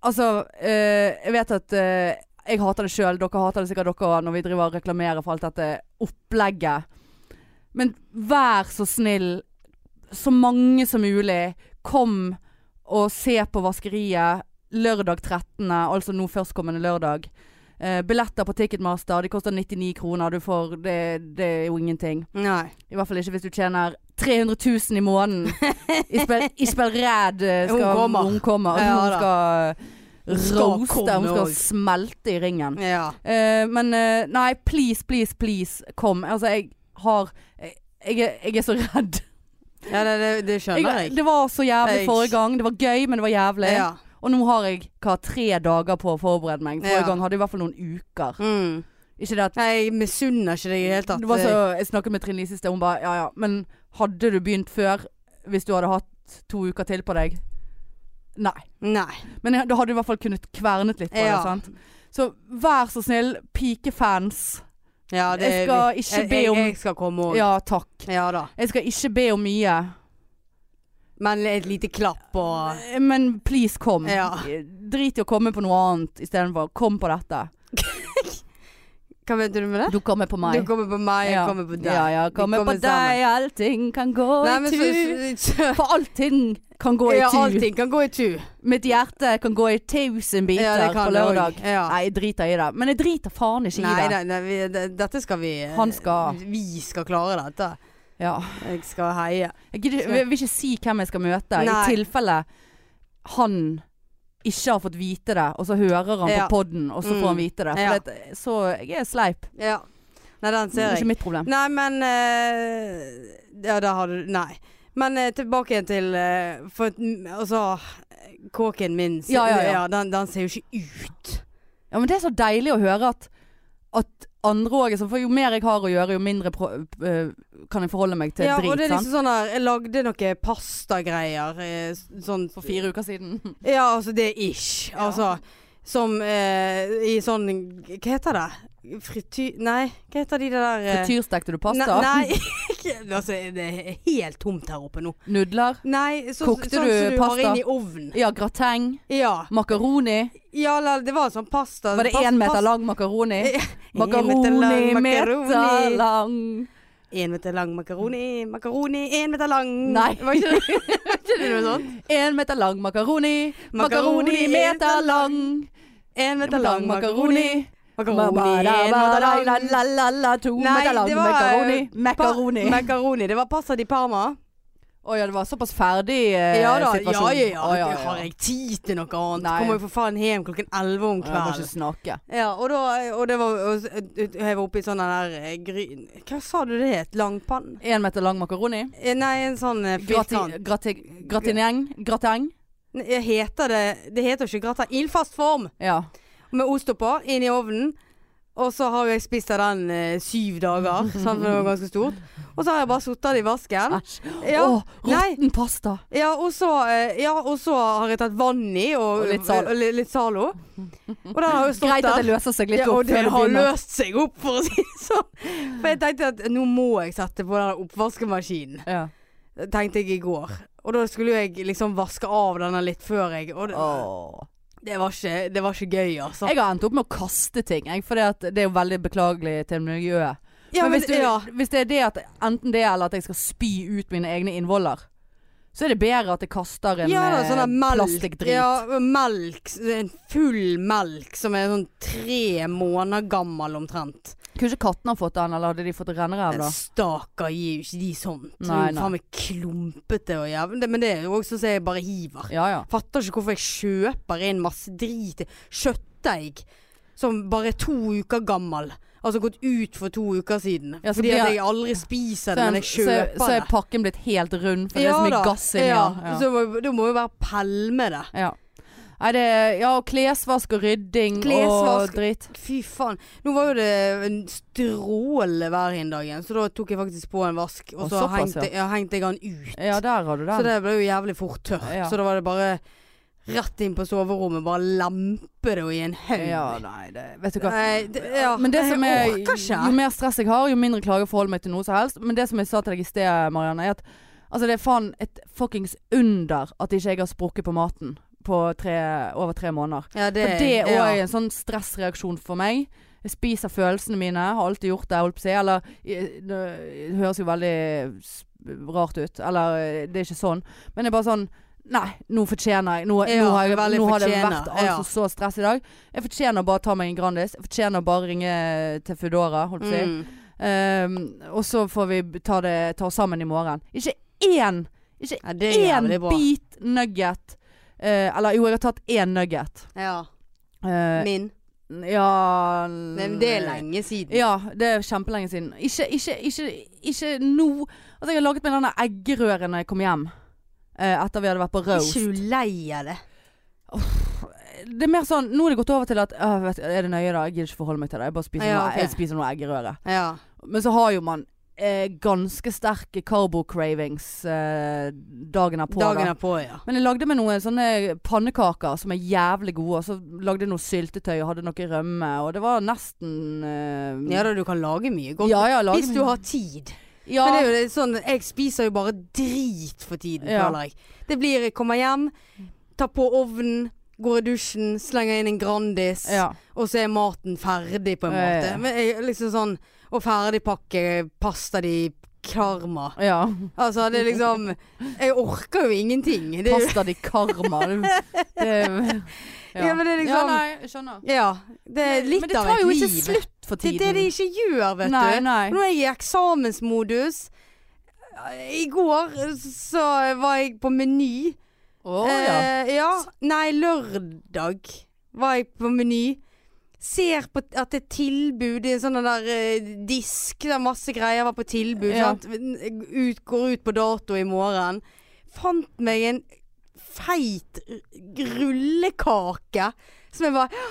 altså eh, Jeg vet at eh, jeg hater det sjøl. Dere hater det sikkert dere òg når vi driver og reklamerer for alt dette opplegget. Men vær så snill, så mange som mulig, kom og se på Vaskeriet lørdag 13., altså nå førstkommende lørdag. Eh, billetter på Ticketmaster, de koster 99 kroner. Du får Det, det er jo ingenting.
Nei.
I hvert fall ikke hvis du tjener 300 000 i måneden. Isbel, Isbel Red eh, skal,
Hun kommer.
Hun kommer.
Ja
hun
da. Hun
skal
skal
roaste. Hun
komme
skal
også.
smelte i ringen.
Ja.
Eh, men eh, nei, please, please, please, kom. Altså, jeg har Jeg, jeg, er- jeg er så redd.
ja det, det, det skjønner
Jeg,
jeg.
det var så jævlig
Jeg-
forrige gang. Det var gøy, men det var jævlig.
Ja.
Og nå har jeg hva, tre dager på å forberede meg. Forrige
Ja.
gang hadde jeg i hvert fall noen uker.
Mm.
Ikke det at
Nei, jeg misunner ikke deg i det hele tatt.
Det var så,
eh,
jeg snakket med Trine Lise i sted, hun bare ja ja, men hadde du begynt før hvis du hadde hatt to uker til på deg? Nei.
Nei.
Men jeg- da hadde du i hvert fall kunnet kvernet litt på
Ja.
det. sant? Så vær så snill, pikefans.
Ja, det,
Jeg skal ikke
jeg-
be om-
Jeg, jeg skal komme òg. Ja.
Ja takk.
da.
Jeg skal ikke be om mye,
Men et lite klapp og
Eh, men please kom.
Ja.
Drit i å komme på noe annet istedenfor. Kom på dette.
Hva mente du med det?
Du kommer på meg.
Du kommer på meg, jeg kommer på deg.
Ja, ja,
Vi
kommer på
kommer
deg.
sammen.
Allting kan gå
Nei,
i
men så,
tur.
så,
For allting kan gå i
ja,
tur.
allting kan gå i tu.
Mitt hjerte kan gå i tusen biter
Ja, det kan
på
det
lørdag.
også. Ja.
Nei, jeg driter i det. Men jeg driter faen ikke
Nei,
i det.
nei, nei vi, det, dette skal vi eh,
Han skal.
Vi skal klare dette.
Ja.
Jeg skal heie.
Jeg, gidder, jeg vil ikke si hvem jeg skal møte,
Nei.
i tilfelle han ikke har fått vite det, og så hører han
Ja.
på podden, og så
Mm.
får han vite det. For
Ja.
det så jeg er sleip.
Ja. Nei, den
Det
ser
er ikke
jeg.
mitt problem.
Nei, men eh, Ja, da har du Nei. Men eh, tilbake igjen til eh, For at, mm, altså Kåken min ser-
Ja, ja, ja.
den, den ser jo ikke ut.
Ja, men det er så deilig å høre at, at andre òg For jo mer jeg har å gjøre, jo mindre pro øh, kan jeg forholde meg til
ja,
drit.
og det er
sant?
liksom sånn der Jeg lagde noe pastagreier eh, s- sånn
For fire uker siden.
Ja, altså det er ish.
Ja.
Altså som eh, i sånn Hva heter det? Frityr... Nei, hva heter de det der eh,
Frityrstekte du pasta?
Nei, nei ikke- altså, det er helt tomt her oppe nå.
Nudler?
Nei, så,
Kokte
sånn
du
som du
pasta?
har inn i ovnen.
Ja, grateng?
Ja,
Makaroni?
ja eller det var sånn pasta
Var det
pas-
én meter
pas-
lang makaroni?
En meter lang
Makaroni, meter
makaroni.
lang.
En meter lang makaroni, makaroni en meter lang.
Nei.
Var ikke det, var ikke det noe sånt?
Én meter lang makaroni, makaroni
Makaroni,
meter
meter
lang.
En meter
Lang
lang makaroni,
makaroni.
makaroni
Makaroni,
en meter lang.
la-la-la-la, to
Nei,
meter lang
det var,
makaroni.
eh, Pa-
Makaroni.
Makaroni. Det var pasta di Parma.
Å ja, det var såpass ferdig eh,
Ja da, ja
situasjon.
ja ja.
Å, ja,
Det Har
ja.
jeg tid til noe annet?
Nei.
Kommer jo for faen hjem klokken elleve om
Ja, Jeg må
kvelden.
ikke snakke.
Ja, og, da, og det var og, s- Jeg var oppe i sånn der eh, gryn... Hva sa du det het? Langpann?
Én meter lang makaroni.
Eh, Nei, en sånn eh, firkant.
Grati- grati- Gratineng? Grateng?
Nei, jeg Heter det Det heter jo ikke gratin. Ildfast form
Ja.
med ost oppå, inn i ovnen. Og så har jo jeg spist av den eh, syv dager, sant, for det var ganske stort. Og så har jeg bare sittet det i vasken.
Æsj.
Ja,
Å,
nei.
råtten pasta.
Ja, og så, eh, ja, og så har jeg tatt vann i, og,
Og litt Zalo.
Og, li- litt Zalo. Og den har jo stått
Greit at
der.
det løser seg litt
ja,
opp.
og det
før du
har
begynner.
løst seg opp, for å si det sånn. For jeg tenkte at nå må jeg sette på den oppvaskemaskinen,
Ja.
tenkte jeg i går. Og da skulle jo jeg liksom vaske av denne litt før jeg Og det,
Åh.
det, var, ikke, det var ikke gøy, altså.
Jeg har endt opp med å kaste ting, jeg, for det er jo veldig beklagelig til miljøet.
ja,
men
men,
hvis, du,
ja.
hvis det er det at enten det eller at jeg skal spy ut mine egne innvoller, så er det bedre at jeg kaster en
ja da, sånn der
eh,
melk.
plastikkdrit.
Ja, melk. En full melk som er sånn tre måneder gammel omtrent.
Kunne ikke kattene ha fått den, eller hadde de fått rennerev da?
Stakkar gir jo ikke de sånt.
Nei,
Det er jo
nei.
Faen meg klumpete og jævlig. Det- Men det er jo også sånn jeg bare hiver.
Ja ja.
Fatter ikke hvorfor jeg kjøper inn masse drit. Kjøttdeig som bare er to uker gammel. Altså gått ut for to uker siden.
Ja, så
Fordi
blir
at
jeg-
jeg aldri spiser det,
er-
men jeg
så, er-
kjøper
så er
det.
pakken blitt helt rund, for det er så mye
da.
gass inni
ja.
den. Ja.
Så må- da må jo være pælme det.
Ja. Nei, det er ja, og klesvask og rydding
Klesvask.
og dritt.
Fy faen. Nå var jo det en strålende vær i en dag igjen, så da tok jeg faktisk på en vask. Og
Å,
så
såpass,
hengte, ja. hengte jeg den ut.
Ja, der har du
Så
den.
det ble jo jævlig fort tørt.
Ja.
Så da var det bare Rett inn på soverommet, bare lempe det i en haug.
Ja, nei, det Vet du hva.
Nei, det, ja.
Men det som er,
Jeg orker ikke.
jo mer stress jeg har, jo mindre klager forholder meg til noe som helst. Men det som jeg sa til deg i sted, Marianne, er at altså, det er faen et fuckings under at ikke jeg har sprukket på maten på tre, over tre måneder.
Ja, det,
For det òg
ja.
er en sånn stressreaksjon for meg. Jeg spiser følelsene mine, har alltid gjort det, holdt på å si. Eller eh, Det det høres jo veldig s- rart ut. Eller eh, det er ikke sånn. Men det er bare sånn Nei, nå fortjener jeg. Nå, nå,
Ja,
har, jeg,
veldig
nå har det
fortjener,
vært altså
ja.
så stress i dag. Jeg fortjener bare å ta meg en Grandis. Jeg fortjener bare å ringe til Foodora, holdt på å si.
Mm.
Ehm, og så får vi b- ta det ta oss sammen i morgen. Ikke én! Ikke
Ja, det er
én
jævlig bra.
bit nugget. Eh, eller jo, jeg har tatt én nugget.
Ja.
Eh,
Min.
ja
Men det er lenge siden.
Ja, det er kjempelenge siden. Ikke, ikke, ikke, ikke nå Altså, jeg har laget meg denne eggerøren når jeg kom hjem. eh, etter vi hadde vært på
Er
roast.
ikke du lei av det?
Det er mer sånn Nå har det gått over til at «Åh, vet, du, Er det nøye, da? Jeg gidder ikke forholde meg til det. Jeg bare spiser,
Ja,
noe,
ok.
jeg spiser noe eggerøre.
Ja.
Men så har jo man eh, ganske sterke carbo-cravings eh, dagen er på.
Dagen
da.
er på, ja.
Men jeg lagde meg noen sånne pannekaker som er jævlig gode. Og så lagde jeg noe syltetøy og hadde noe rømme, og det var nesten eh,
Ja da, du kan lage mye godt.
ja, ja, lage
Hvis
meg-
du har tid.
ja,
Men det er jo det, sånn, jeg spiser jo bare drit for tiden,
Ja.
føler jeg. Det blir jeg kommer hjem, tar på ovnen, går i dusjen, slenger inn en Grandis,
ja.
og så er maten ferdig på en
Ja, ja,
måte.
ja.
Men jeg, liksom sånn, Og ferdigpakke pasta di karma.
ja.
Altså, det er liksom Jeg orker jo ingenting. Det er jo,
Pasta di karma. Det, det,
Ja, men det er liksom-
Ja, nei, jeg skjønner.
ja. Det er
men
litt
det
av
tar
et
jo
liv.
ikke slutt for
Det
tiden.
er det de ikke gjør, vet
nei,
du.
Nei.
Nå er jeg i eksamensmodus. I går så var jeg på Meny.
Å ja.
Eh, ja. Nei, lørdag var jeg på Meny. Ser på at det er tilbud i en sånn der eh, disk der masse greier var på tilbud.
Ja.
Sant? Ut, går ut på dato i morgen. Fant meg en feit r- rullekake som jeg bare «Hå!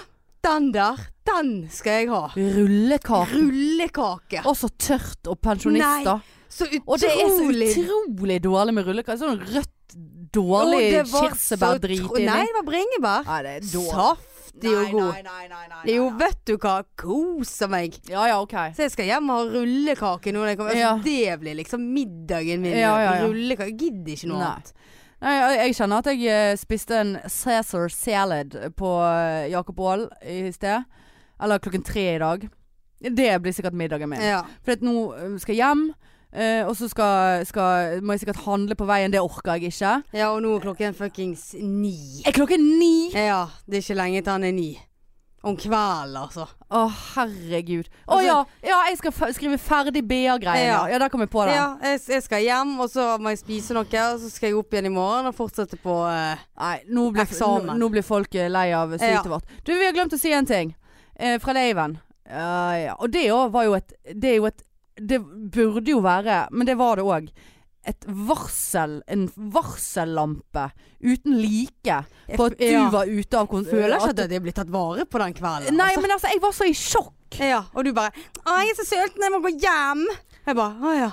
Den der, den skal jeg ha.
Rullekake.
Rullekake.
Og så tørt og pensjonister.
Så utrolig.
Og det er så utrolig dårlig med rullekake. Sånn rødt, dårlig
Å, det var
kirsebærdrit
så tro-
inni.
Nei, det var bringebær.
Nei, det er
Saftig og god.
Nei, nei, nei, nei,
Jo,
nei.
vet du hva. Koser meg.
Ja ja, OK.
Så jeg skal hjem og ha rullekake nå. når jeg kommer. Altså,
Ja.
Det blir liksom middagen min.
Ja, ja, ja.
Rullekake. Jeg gidder ikke noe
Nei.
annet.
Nei, jeg- jeg kjenner at jeg eh, spiste en Cæsar salad på eh, Jacob Aall i sted. Eller klokken tre i dag. Det blir sikkert middagen min.
Ja.
For at nå eh, skal jeg hjem, eh, og så skal, skal, må jeg sikkert handle på veien. Det orker jeg ikke.
ja, og nå er klokken fuckings ni.
Er klokken ni?
Ja, det er ikke lenge til han er ni. Om kvelden, altså.
Å, herregud. Å
Altså-
ja, ja, jeg skal f skrive ferdig BA-greier. Ja.
Ja.
ja, der kom jeg på den.
Ja, jeg, jeg skal hjem, og så må jeg spise noe. Og så skal jeg opp igjen i morgen og fortsette på eh,
Nei, nå blir,
Eksamen.
nå, nå blir folk eh, lei av sytet
Ja.
vårt. Du, vi har glemt å si en ting. Eh, fra Leiven. Ja, ja. Og det òg var jo et Det er jo et Det burde jo være, men det var det òg. Et varsel, en varsellampe uten like
Jeg-
på at du
ja.
var ute av kon-
Føler ikke at jeg blir tatt vare på den kvelden.
Nei,
altså.
men altså, jeg var så i sjokk.
Ja, og du bare 'Å, jeg er så sulten, jeg må gå hjem'. Jeg bare 'Å ja,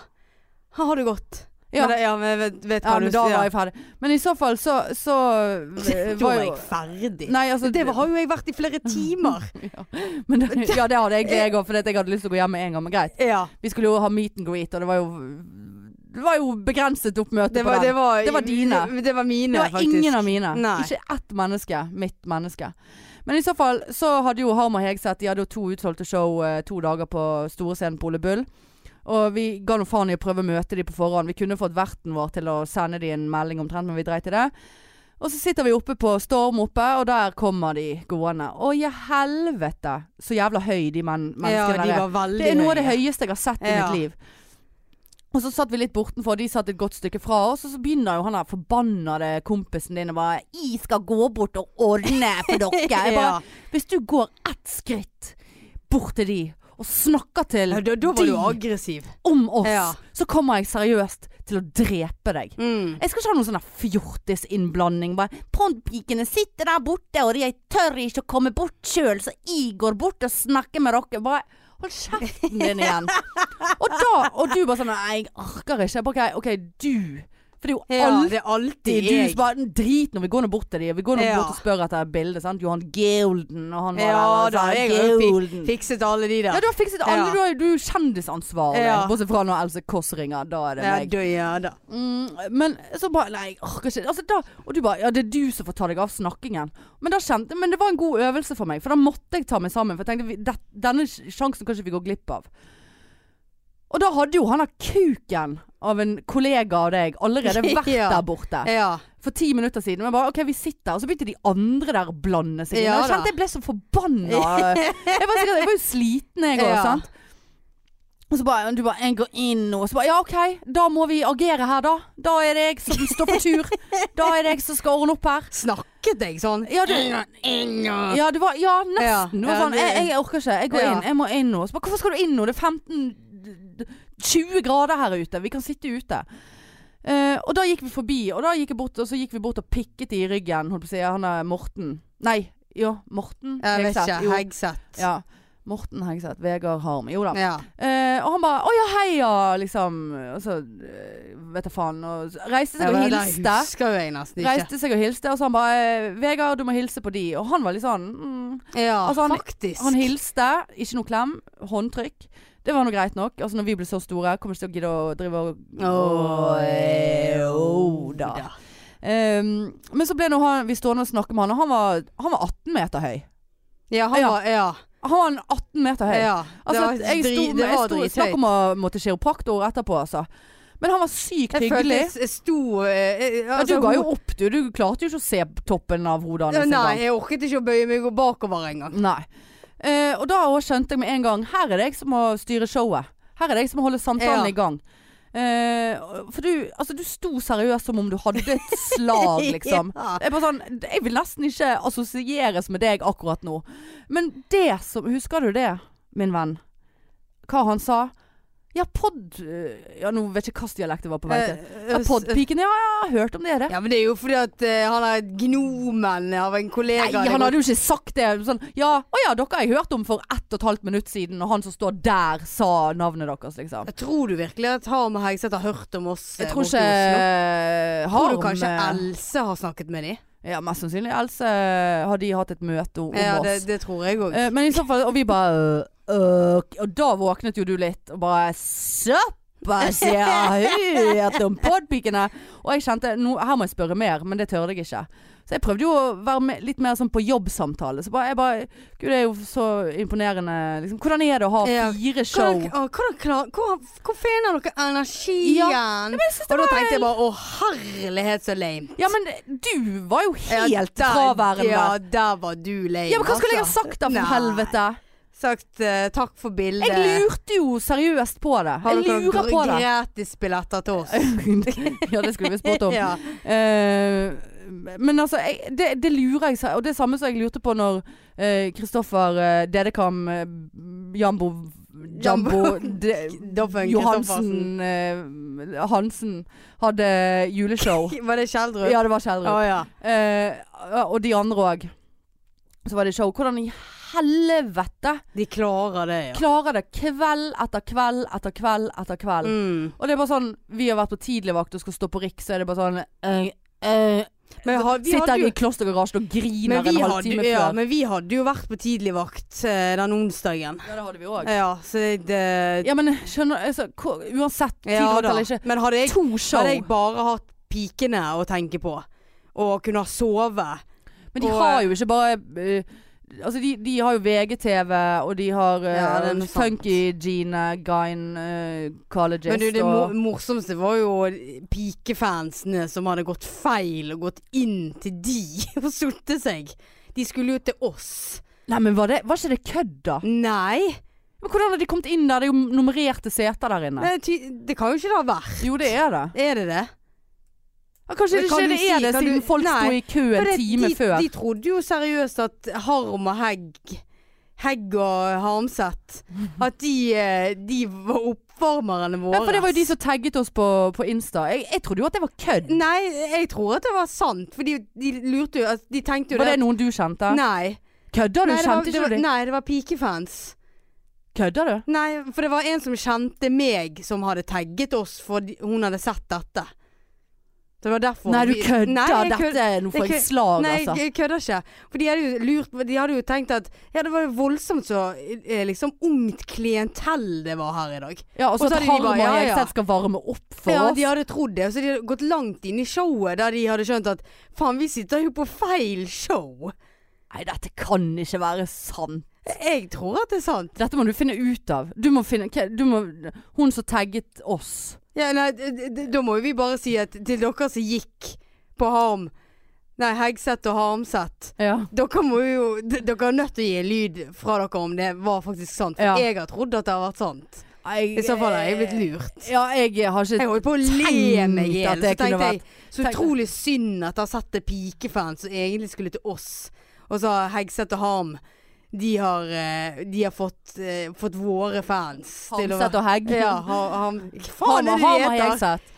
her har det gått'.
Ja.
Men, det- ja, men jeg vet, vet
Ja,
hva du
men da var jeg ferdig. Men i så fall så, så eh,
Da
var
var
jo
jeg ferdig.
Nei, altså
det var, har jo jeg vært i flere timer.
Men det, ja, det hadde jeg det jeg òg, fordi at jeg hadde lyst til å gå hjem med en gang. Men greit.
ja.
Vi skulle jo ha meet and greet, og det var jo, det var jo begrenset oppmøte
Det var,
på
det
den.
var,
Det var dine.
Det, det var mine,
Det var
faktisk.
ingen av mine.
Nei.
Ikke ett menneske. Mitt menneske. Men i så fall så hadde jo Harm og Hegseth De hadde jo to utsolgte show eh, to dager på store scenen på Ole Bull. Og vi ga nå faen i å prøve å møte de på forhånd. Vi kunne fått verten vår til å sende de en melding omtrent, men vi dreit i det. Og så sitter vi oppe på Storm oppe, og der kommer de gående. Å i helvete så jævla høy de men
Ja,
menneskene
de
der er.
var veldig
Det er noe av det
høye.
høyeste jeg har sett i
Ja.
mitt liv. Og så satt vi litt bortenfor, de satt et godt stykke fra oss, og så begynner jo han der forbannede kompisen din og bare 'Jeg skal gå bort og ordne for dere'. Jeg
Ja.
bare, Hvis du går ett skritt bort til de og snakker til
Ja, da, da var du
de
aggressiv.
om oss,
Ja.
så kommer jeg seriøst til å drepe deg.
Mm.
Jeg skal ikke ha noen sånn der fjortisinnblanding. Bare 'Pondpikene sitter der borte, og jeg tør ikke å komme bort sjøl, så jeg går bort og snakker med dere'. Bare Hold kjeften din igjen. og da Og du bare sånn 'Nei, jeg orker ikke'. Jeg Bare, ok, ok, du For det er jo
Ja,
alltid
det er alltid
du
jeg.
som bare Drit når vi går nå bort til dem. Vi går nå
Ja.
bort og spør etter bildet. Sant? Johan Golden og han var der,
Ja da,
altså,
jeg har jo fi-
Golden.
fikset alle de der.
Ja, du har fikset alle.
Ja.
Du har du er jo kjendisansvarlig.
Ja.
Bortsett fra når Else Kåss ringer. Da er det
Ja,
meg.
da, ja da.
Mm, men så bare Nei, jeg orker ikke. Altså, da, og du bare Ja, det er du som får ta deg av snakkingen. Men, da kjente, men det var en god øvelse for meg, for da måtte jeg ta meg sammen. For jeg tenkte vi- det, denne sj- sjansen kan ikke vi gå glipp av. Og da hadde jo han der kuken av en kollega av deg allerede vært
Ja.
der borte
Ja.
for ti minutter siden. Men jeg bare, ok, vi sitter, og så begynte de andre der å blande seg inn.
Ja
og jeg
da.
kjente jeg ble så forbanna. Jeg var, sikkert, jeg var jo sliten jeg òg,
Ja.
sant. Og så bare, du bare, jeg går inn nå. Og så bare, ja ok, da må vi agere her da. Da er det jeg som står for tur. Da er det jeg som skal ordne opp her.
Snakket jeg sånn?
Ja, du, ja, det var, ja
Ja,
nesten. Det var
ja,
sånn,
det-
jeg, jeg orker ikke. Jeg går
Ja.
inn, jeg må inn nå. Så bare, hvorfor skal du inn nå? Det er 15 20 grader her ute. Vi kan sitte ute. Eh, og da gikk vi forbi, og da gikk jeg bort, og så gikk vi bort og pikket i ryggen, holdt på å si, han er Morten. Nei, jo, Morten
Jeg vet
Hegseth,
ikke.
jo.
Hegseth.
Ja. Morten Hegseth, Vegard Harm. Jo da.
Ja.
Eh, og han bare 'Å ja, heia', liksom. Og så eh, vet jeg faen. Og så reiste seg
Ja,
og
men det
hilste.
husker jo jeg nesten ikke.
Reiste seg og hilste, og så han bare eh, 'Vegard, du må hilse på de'. Og han var litt sånn mm.
Ja,
Altså, han-
faktisk.
Han hilste, ikke noe klem, håndtrykk. Det var nå greit nok. Altså når vi ble så store, kommer ikke til å gidde å drive og
Åh, eh,
Åh, da.
da.
Ehm, men så ble nå han, vi stående og snakke med han, og han var, han var 18 meter høy.
Ja, han
Ja.
var Ja.
Han var en 18 meter høy.
ja.
Altså, jeg sto,
dri- det
jeg
var
sto,
drithøyt.
snakk om å måtte kiropraktor etterpå, altså. Men han var sykt
Jeg følte
hyggelig.
jeg s- jeg sto eh, eh,
Ja, du ga
altså,
jo liksom.
hun-
opp, du. Du klarte jo ikke å se toppen av hodet hans. engang.
Nei, jeg orket ikke å bøye meg og bakover engang.
Nei. Eh, og da også skjønte jeg med en gang Her er det jeg som må styre showet. Her er det jeg som må holde samtalen
Ja.
i gang. Eh, for du, altså, du sto seriøst som om du hadde et slag, liksom.
Ja.
Jeg, er bare sånn, jeg vil nesten ikke assosieres med deg akkurat nå. Men det som Husker du det, min venn? Hva han sa? Ja, pod... Ja, nå vet jeg ikke hvilken dialekt det var på vei til.
Eh,
Ja,
eh,
Podpiken, ja, ja, jeg har hørt om det, det.
Ja, men det er jo fordi at eh, han er gnomen av en
Nei,
kollega. Det
han
går-
hadde jo ikke sagt det. Sånn, ja, å ja, dere har jeg hørt om for ett og et halvt minutt siden, og han som står der, sa navnet deres, liksom.
Jeg tror du virkelig at Harm og Hegseth har hørt om oss? eh,
Jeg tror
borte i Oslo?
ikke
Tror du
Harm
kanskje
eh,
Else har snakket med dem?
Ja, mest sannsynlig. Else eh, har de hatt et møte om
Ja, det,
oss.
det tror jeg òg.
Eh, Men i så fall Og vi bare øh, øh, Og da våknet jo du litt, og bare Såpass, jeg har hørt om podpikene! Og jeg kjente nå, Her må jeg spørre mer, men det tørde jeg ikke. Så jeg prøvde jo å være med, litt mer sånn på jobbsamtale. Så bare, jeg bare Gud, det er jo så imponerende. Liksom. Hvordan er det å ha
Ja.
fire show?
Hvordan, å, hvordan klar, hvor, hvor finner dere energien?
Ja,
og da tenkte jeg bare å herlighet så lame.
Ja, men du var jo
Ja,
helt
der-
fraværende.
Ja,
Ja,
der var du lame.
men hva skulle jeg ha
altså.
sagt da, for
Nei.
helvete?
Sagt eh, takk for bildet.
Jeg lurte jo seriøst på det.
Har
Jeg
dere
lurer på det.
gratisbilletter til oss?
ja, det skulle vi spurt om.
Ja.
Eh, men altså, jeg, det, det lurer jeg seg Og det er samme som jeg lurte på når eh, Kristoffer eh, Dedekam eh, Jambo Jambo de,
Doffen
Johansen eh, Hansen hadde juleshow.
Kristoffersen. Var det Kjeldrup?
Ja, det var Kjeldrup.
Å, ja.
Eh, og de andre òg. Så var det show. Hvordan i helvete
De klarer det, ja.
klarer det kveld etter kveld etter kveld etter kveld?
Mm.
Og det er bare sånn Vi har vært på tidligvakt og skal stå på Riks, så er det bare sånn eh, eh,
Men, har, vi
Sitter
hadde
jeg
jo,
i klostergarasjen og
men,
griner
vi
en
hadde,
halvtime
ja,
før.
men vi hadde jo vært på tidligvakt eh, den onsdagen.
Ja, det hadde vi òg.
Ja, så det
Ja, men skjønner altså, hvor- Uansett,
Ja
tidligvakt
da.
eller ikke.
Men hadde jeg,
To show.
hadde jeg bare hatt pikene å tenke på, og kunne ha sovet
Men de
Og-
har jo ikke bare eh, Altså de, de har jo VGTV, og de har eh,
Ja, det er noe sant.
Funky Gina, Gine, eh, Collegist
Men du, det
og
mo morsomste var jo pikefansene som hadde gått feil og gått inn til de og sotte seg. De skulle jo til oss.
Nei, men var, det, var ikke det kødd, da?
Nei,
Men Hvordan har de kommet inn der? Det er jo nummererte seter der inne.
men ty det kan jo ikke det ha vært.
Jo, det er det.
Er det det?
Ja, kanskje
Men
det
kan
ikke
du
det
si-
er det,
kan
siden
du-
folk sto
Nei,
i kø
For
en
det-
time
de,
før.
De trodde jo seriøst at Harm og Hegg Hegg og Harmseth At de, eh, de var oppvarmerne våre.
ja, for det var jo de som tagget oss på, på Insta. Jeg, jeg trodde jo at det var kødd.
Nei, jeg tror at det var sant. For de, de lurte jo at De tenkte jo
Var det
det.
noen du kjente?
Nei.
Kødda du?
nei, det var,
Kjente
det
ikke
var,
du dem?
nei, det var pikefans.
Kødda du?
Nei, for det var en som kjente meg som hadde tagget oss for de- hun hadde sett dette. Det var derfor
Nei, du
vi-
kødder.
Nei, jeg kød-
Dette er noe for
jeg
et
kød-
slag,
Nei,
altså.
jeg kødder ikke. For de hadde jo lurt De hadde jo tenkt at Ja, det var jo voldsomt så eh, liksom ungt klientell det var her i dag.
Ja, og så
så
at
hadde de
Harm
bare,
og
ja, ja.
Hegseth skal varme opp for
ja,
oss.
de hadde trodd det. Og så de hadde gått langt inn i showet der de hadde skjønt at faen, vi sitter jo på feil show.
Nei, dette kan ikke være sant.
Jeg tror at det er sant.
Dette må du finne ut av. Du må finne hva- du må, Hun som tagget oss.
Ja, nei, d- d- da må jo vi bare si at til dere som gikk på Harm Nei, Hegseth og Harmseth.
Ja.
Dere må jo d- Dere er nødt til å gi lyd fra dere om det var faktisk sant. For
Ja.
jeg har trodd at det har vært sant.
Jeg,
I så fall har jeg blitt lurt.
Ja, jeg har ikke
Jeg holdt på å le
Tenk
meg i
at
hjel. Så
det kunne
tenkte jeg så
tenk-
utrolig synd at jeg har sett det pikefans som egentlig skulle til oss, og så har Hegseth og Harm de har, eh, de har fått, eh, fått våre fans til å
Hamset og Hegg.
Ja, ha, ham, hva faen
Hamar,
er det
Hamar
de heter?
Hegseth.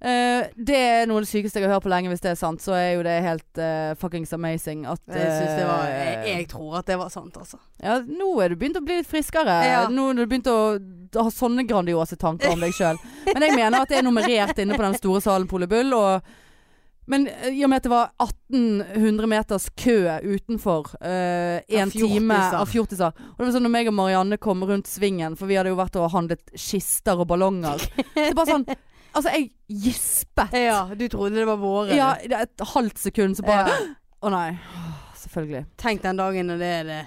Eh, det er noe av det sykeste jeg har hørt på lenge, hvis det er sant. Så er jo det helt eh, fuckings amazing at
Jeg, synes det var, jeg,
eh,
jeg tror at det var sant, altså.
Ja, nå er du begynt å bli litt friskere.
Ja.
Nå er du begynt å ha sånne grandiose tanker om deg sjøl. Men jeg mener at det er nummerert inne på den store salen Polebull. Og, men eh, i og med at det var 1800 meters kø utenfor eh, en
Av
time
fjortiser.
av fjortiser Og det var sånn når meg og Marianne kom rundt svingen, for vi hadde jo vært og handlet kister og ballonger. Det er bare sånn Altså, jeg gispet.
Ja, du trodde det var våre.
Ja, i et halvt sekund, så bare
Ja.
Å nei. Selvfølgelig.
Tenk den dagen når det er det.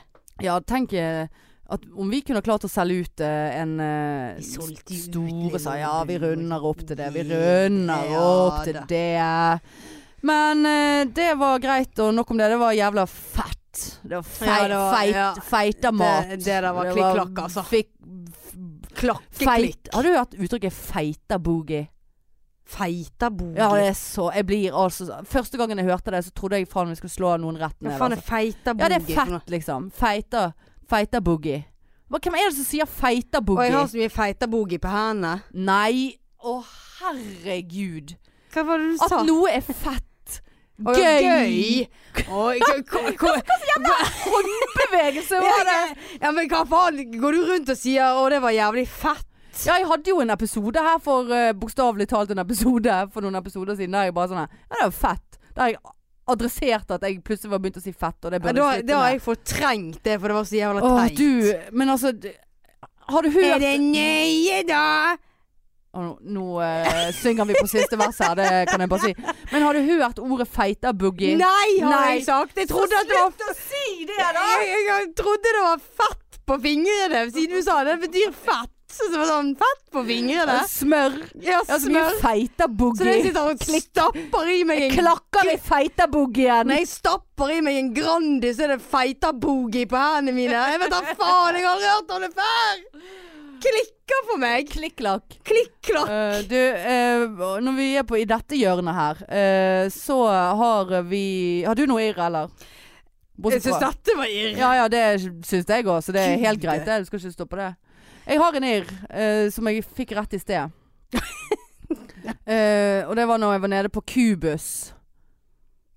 Ja, tenk eh, at om vi kunne klart å selge ut eh, en eh,
Vi solgte
s-
jo ut
store sa,
i London.
Ja, vi runder opp til det. Vi runder
Ja,
opp til
da.
det. Men eh, det var greit, og nok om det. Det var jævla fett. Det var fei,
Ja, det var-
feit,
ja.
feita mat.
Det, det der var
Det
klikk-klakk, altså.
Fikk
Klakkeklikk.
feit. Har du hørt uttrykket 'feita boogie'?
Feita bog.
Ja, det er så Jeg blir altså så- Første gangen jeg hørte det, så trodde jeg faen vi skulle slå noen rett ned.
Hva faen
altså.
er feita
Ja,
boogie?
det er fett, liksom. Feita Feita boogie. Hva- Hvem er det som sier feita
Og jeg
boogie?
har så mye feita boogie på hendene.
Nei, å herregud.
Hva var det du
At
sa?
noe er fett.
Å,
Gøy.
ja, gøy. Oi, k- k- k-
Bevegelse
ja,
var det.
ja, ja, men hva faen? Går du rundt og sier 'å, det var jævlig fett'?
Ja, jeg hadde jo en episode her for eh, bokstavelig talt en episode for noen episoder siden der jeg bare sånn her, Ja, det er jo fett. Der jeg adresserte at jeg plutselig var begynt å si fett, og det
Ja,
burde
da,
jeg
da
slutte
har
med.
jeg fortrengt det, for det var så jævla
Åh,
teit.
du Men altså d- Har du hørt
Er det nøye, da?
Å, Nå, nå eh, synger vi på siste vers her, det kan jeg bare si. Men har du hørt ordet feiterboogie?
Nei, har
Nei.
jeg sagt. Jeg trodde at det var
å si det,
jeg, jeg, jeg trodde det var fett på fingrene, siden du sa det. Det betyr fett. Så det var sånn fett på fingrene.
Smør. Ja,
Ja,
så mye
smør. Så det sånn
feiterboogie.
sitter og stapper i meg en
Klakker i feiterbooggien.
Når jeg stapper i meg en Grandi, så er det feita-boogie på hendene mine. Jeg vet da faen, jeg har aldri hørt om det før! Klikker for meg.
Klikk-klakk.
Klikk-klakk.
Eh, du, eh, når vi er på i dette hjørnet her, eh, så har vi Har du noe irr, eller?
Jeg
Bortsett
syns
fra-
dette var irr.
Ja ja, det syns jeg òg, så det er helt
Gud.
greit. det. Du skal ikke stoppe det. Jeg har en irr eh, som jeg fikk rett i sted. Eh, og det var når jeg var nede på Cubus.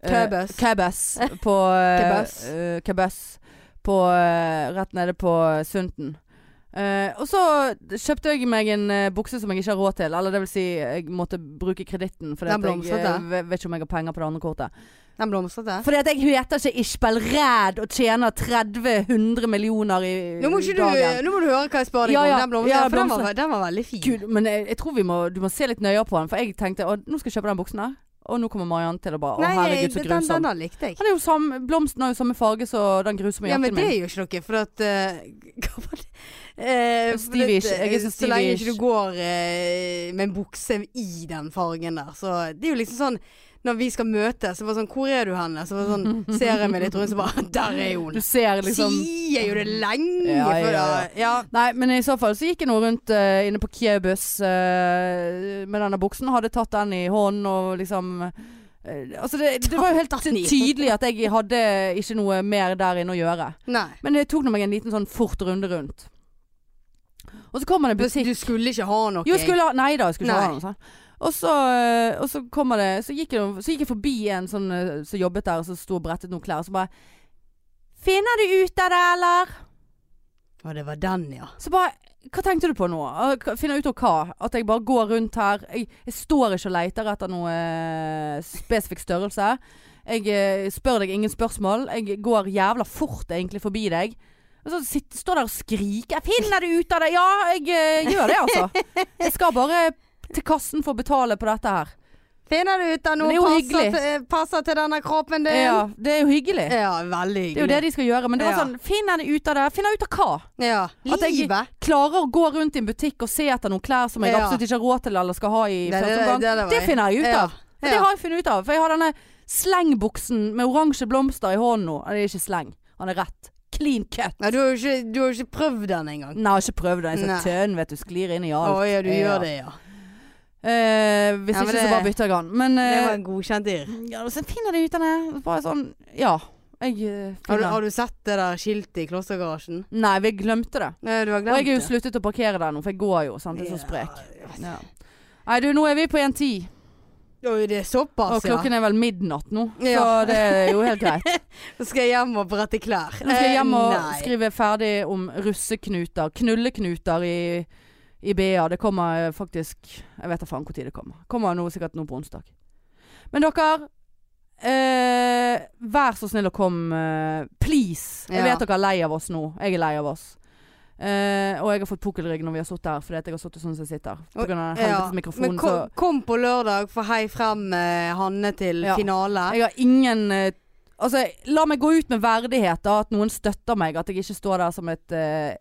Købus.
Købus. På eh,
Købus.
eh, Købus. På eh, Rett nede på Sunten. Eh, og så kjøpte jeg meg en eh, bukse som jeg ikke har råd til. Eller det vil si, jeg måtte bruke kreditten. Fordi
Den
at jeg
blomstrete.
eh, ve- vet ikke om jeg har penger på det andre kortet.
Den blomstrete.
Fordi at jeg heter ikke Ishbel Ræd og tjener 30-100 millioner i
Nå må, ikke du,
dagen.
nå må du høre hva jeg spør deg
Ja, ja.
om. Den blomstrete,
Ja,
for den var,
blomstrete.
den var veldig fin.
Gud, men jeg, jeg tror vi må, du må se litt nøyere på den. For jeg tenkte å, nå skal jeg kjøpe den buksen her. Og nå kommer Mariann til å bare Å,
Nei,
herregud, så
den, den,
grusom.
den likte jeg.
Han er jo samme, blomsten har jo samme farge som den grusomme
Ja, men
jakken
det
min.
er jo ikke noe, for at eh, Hva var det? Eh, for
Stevie
at,
ikke- jeg er så Stevie
lenge
ikke.
ikke du går eh, med en bukse i den fargen der, så Det er jo liksom sånn når vi skal møtes, så var det sånn Hvor er du henne? Så var det sånn Ser jeg meg litt rundt, så bare Der er hun!
Du ser liksom
Sier jo det lenge
Ja, ja,
før
ja.
jeg- ja.
Nei, men i så fall så gikk jeg nå rundt eh, inne på Kiebus eh, med denne buksen. Hadde tatt den i hånden og liksom eh, Altså det, det var jo helt
Tatt den i.
tydelig at jeg hadde ikke noe mer der inne å gjøre.
Nei.
Men jeg tok nå meg en liten sånn fort runde rundt. Og så kommer det en
Du,
butikk
du skulle ikke ha noe?
Jo, jeg skulle ha Nei da, jeg skulle ikke ha
Nei.
noe sånt. Og så, eh, og så kommer det Så gikk jeg, så gikk jeg forbi en sånn eh, som jobbet der, og så sto og brettet noen klær, og så bare Finner du ut av det, eller?
Å, det var den, ja.
Så bare Hva tenkte du på nå? Ah, hva- Finner ut av hva? At jeg bare går rundt her. Jeg, jeg står ikke og leter etter noe eh, spesifikk størrelse. Jeg eh, spør deg ingen spørsmål. Jeg går jævla fort egentlig forbi deg. Og så sitter, står der og skriker. Jeg finner det ut av det! Ja, jeg eh, gjør det, altså. Jeg skal bare til kassen for å betale på dette her.
Finner du ut av
Men det er
noe
jo
passer
hyggelig.
til, passer til denne kroppen din?
Ja, det er jo hyggelig.
Ja, veldig hyggelig.
Det er jo det de skal gjøre. Men det var
Ja.
sånn Finner det ut av det. Finner ut av hva?
Ja.
At jeg-
Livet.
Klarer å gå rundt i en butikk og se etter noen klær som jeg
Ja.
absolutt ikke har råd til eller skal ha i
Det- det-
første
det- det
omgang.
var
sånn Det
jeg.
finner jeg ut
Ja.
av. Og Det
Ja.
har jeg funnet ut av. For jeg har denne slengbuksen med oransje blomster i hånden nå. Nei, Det er ikke sleng. Han er rett. Clean cut.
Nei, du har jo ikke, du har jo ikke prøvd den engang.
Nei, jeg har ikke prøvd det. Jeg er
Nei.
så tønn, vet du. Sklir inn i
Å
alt.
ja, du
Ja.
gjør det, ja.
Eh, hvis
Ja, men
ikke,
det-
så bare bytter jeg den. Men
Det
eh,
var en godkjent irr.
ja, så finner jeg det ut av det. Bare sånn Ja. Jeg eh,
Har, du-
finner
har du sett det der skiltet i klostergarasjen?
Nei, vi glemte det.
Nei, du har
Og
glemt
jeg har jo
det.
sluttet å parkere der nå, for jeg går jo, sant. Jeg er så
Ja,
sprek.
jeg vet.
Ja. Nei du, nå er vi på 1.10,
Oi, det er såpass,
og klokken er vel midnatt nå. Så
Ja.
det er jo helt greit.
ja. Så skal jeg hjem og brette klær.
Nå skal jeg hjem og
Eh, nei.
skrive ferdig om russeknuter, knulleknuter i, i BA. Det kommer eh, faktisk Jeg vet da faen når det kommer. Kommer nå sikkert nå på onsdag. Men dere, eh, vær så snill og kom. Eh, please. Jeg
Ja.
vet dere er lei av oss nå. Jeg er lei av oss. Eh, og jeg har fått pukkelrygg når vi har sittet her, fordi at jeg har sittet sånn som jeg sitter. På
Og-
grunn av den
Ja,
helvetes mikrofonen.
Men kom,
så-
kom på lørdag for hei frem eh, Hanne til
Ja.
finale.
Jeg har ingen eh, Altså, la meg gå ut med verdighet, da. At noen støtter meg. At jeg ikke står der som et eh,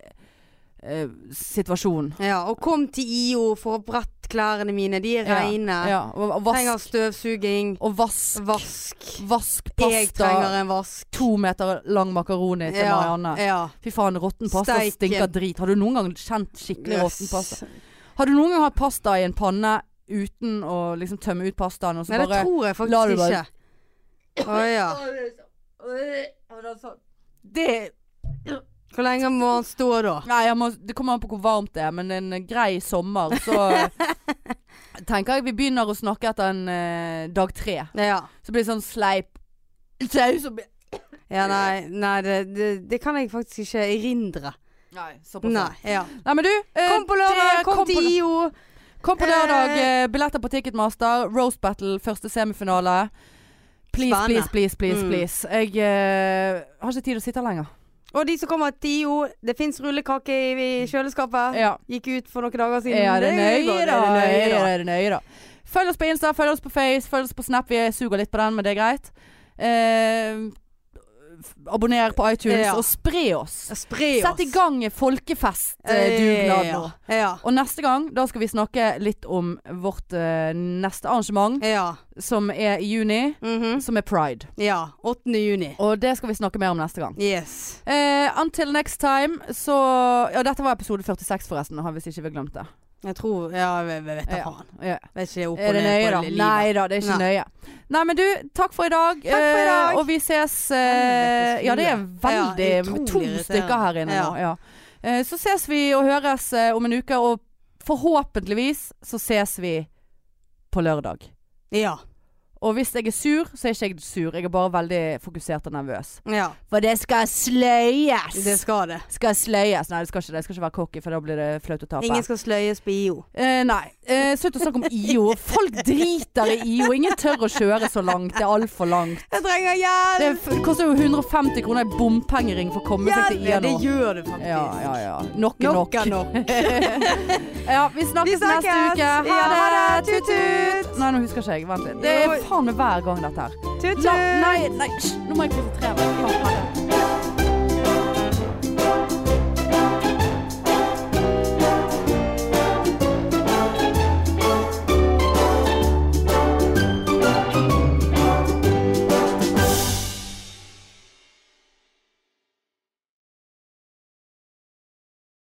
eh, situasjon.
Ja, og kom til IO for å brette klærne mine. De er
Ja,
reine.
Ja, og, og
Trenger
vask.
støvsuging.
Og vask.
Vask.
Vask
Jeg trenger
pasta.
en vask.
To meter lang makaroni til
ja,
Marianne.
Ja.
Fy faen, råtten pasta
Steik.
stinker drit. Har du noen gang kjent skikkelig råtten
Yes.
pasta? Har du noen gang hatt pasta i en panne uten å liksom tømme ut pastaen, og så
Nei, det
bare
tror jeg
la
faktisk
det bare-
ikke. Å ja.
Det
Hvor lenge må han stå da?
Nei, jeg må, det kommer an på hvor varmt det er, men en eh, grei sommer, så tenker jeg vi begynner å snakke etter en eh, dag tre.
Ja.
Så blir det sånn sleip saus og
ja nei, nei det, det, det kan jeg faktisk ikke erindre.
Nei, såpass.
Nei. Ja.
Nei, men du. eh,
Kom på lørdag,
det-
kom til
på,
IO.
kom på lørdag.
Eh.
eh, Billetter på Ticketmaster. Rose Battle, første semifinale. Please, please,
Spennende.
please, please.
Mm.
please. Jeg eh, har ikke tid å sitte her lenger.
Og de som kommer til IO, det fins rullekake i, i kjøleskapet.
Ja.
Gikk ut for noen dager siden.
Er det nøye, da?
Er det nøye, da?
Er det nøye, da? Følg oss på Insta, følg oss på Face, følg oss på Snap. Vi suger litt på den, men det er greit. Eh, f- abonner på iTunes,
Ja.
og spre oss.
Spre oss.
Sett i gang folkefestdugnad nå.
Eh, Ja.
Og neste gang, da skal vi snakke litt om vårt eh, neste arrangement,
Ja.
som er i juni.
Mhm.
Som er pride.
Ja, 8. juni.
Og det skal vi snakke mer om neste gang.
Yes.
Eh, until next time, så Ja, dette var episode 46, forresten, har- hvis ikke vi har glemt det.
Jeg tror Ja, jeg vet da
Ja.
faen.
Ja.
Vet ikke det opp og
Er det
ned
nøye,
på
da?
li- livet.
Nei da, det er ikke nøye. Nei, men du, takk for i dag.
for i dag.
eh, Og vi ses eh, Ja, det er
Ja,
veldig
utrolig
to
irriterende.
stykker her inne nå. Ja. Eh, Så ses vi og høres eh, om en uke, og forhåpentligvis så ses vi på lørdag.
Ja.
Og hvis jeg er sur, så er ikke jeg sur. Jeg er bare veldig fokusert og nervøs.
ja.
For det skal sløyes!
Det skal det.
skal sløyes. Nei, det skal ikke det. Jeg skal ikke være cocky, for da blir det flaut å tape.
Ingen skal sløyes på IO.
Eh, nei. Eh, Slutt å snakke om IO. Folk driter i IO. Ingen tør å kjøre så langt. Det er altfor langt.
Jeg trenger hjelp!
Det, er f- det koster jo 150 kroner i bompengering for å komme seg til
Ja,
IA
det
nå.
gjør det faktisk.
Ja, ja, ja. Nok er nok.
Nok er nok.
Ja, vi
Vi
snakkes,
snakkes.
neste uke.
Ja, ha det. Tut-tut.
Tut-tut. Nei, nå husker ikke jeg. Vent litt. Det er faen meg hver gang dette her.
Tut-tut!
La, nei, nei, hysj. Nå må jeg konsentrere meg. Faen, ha det.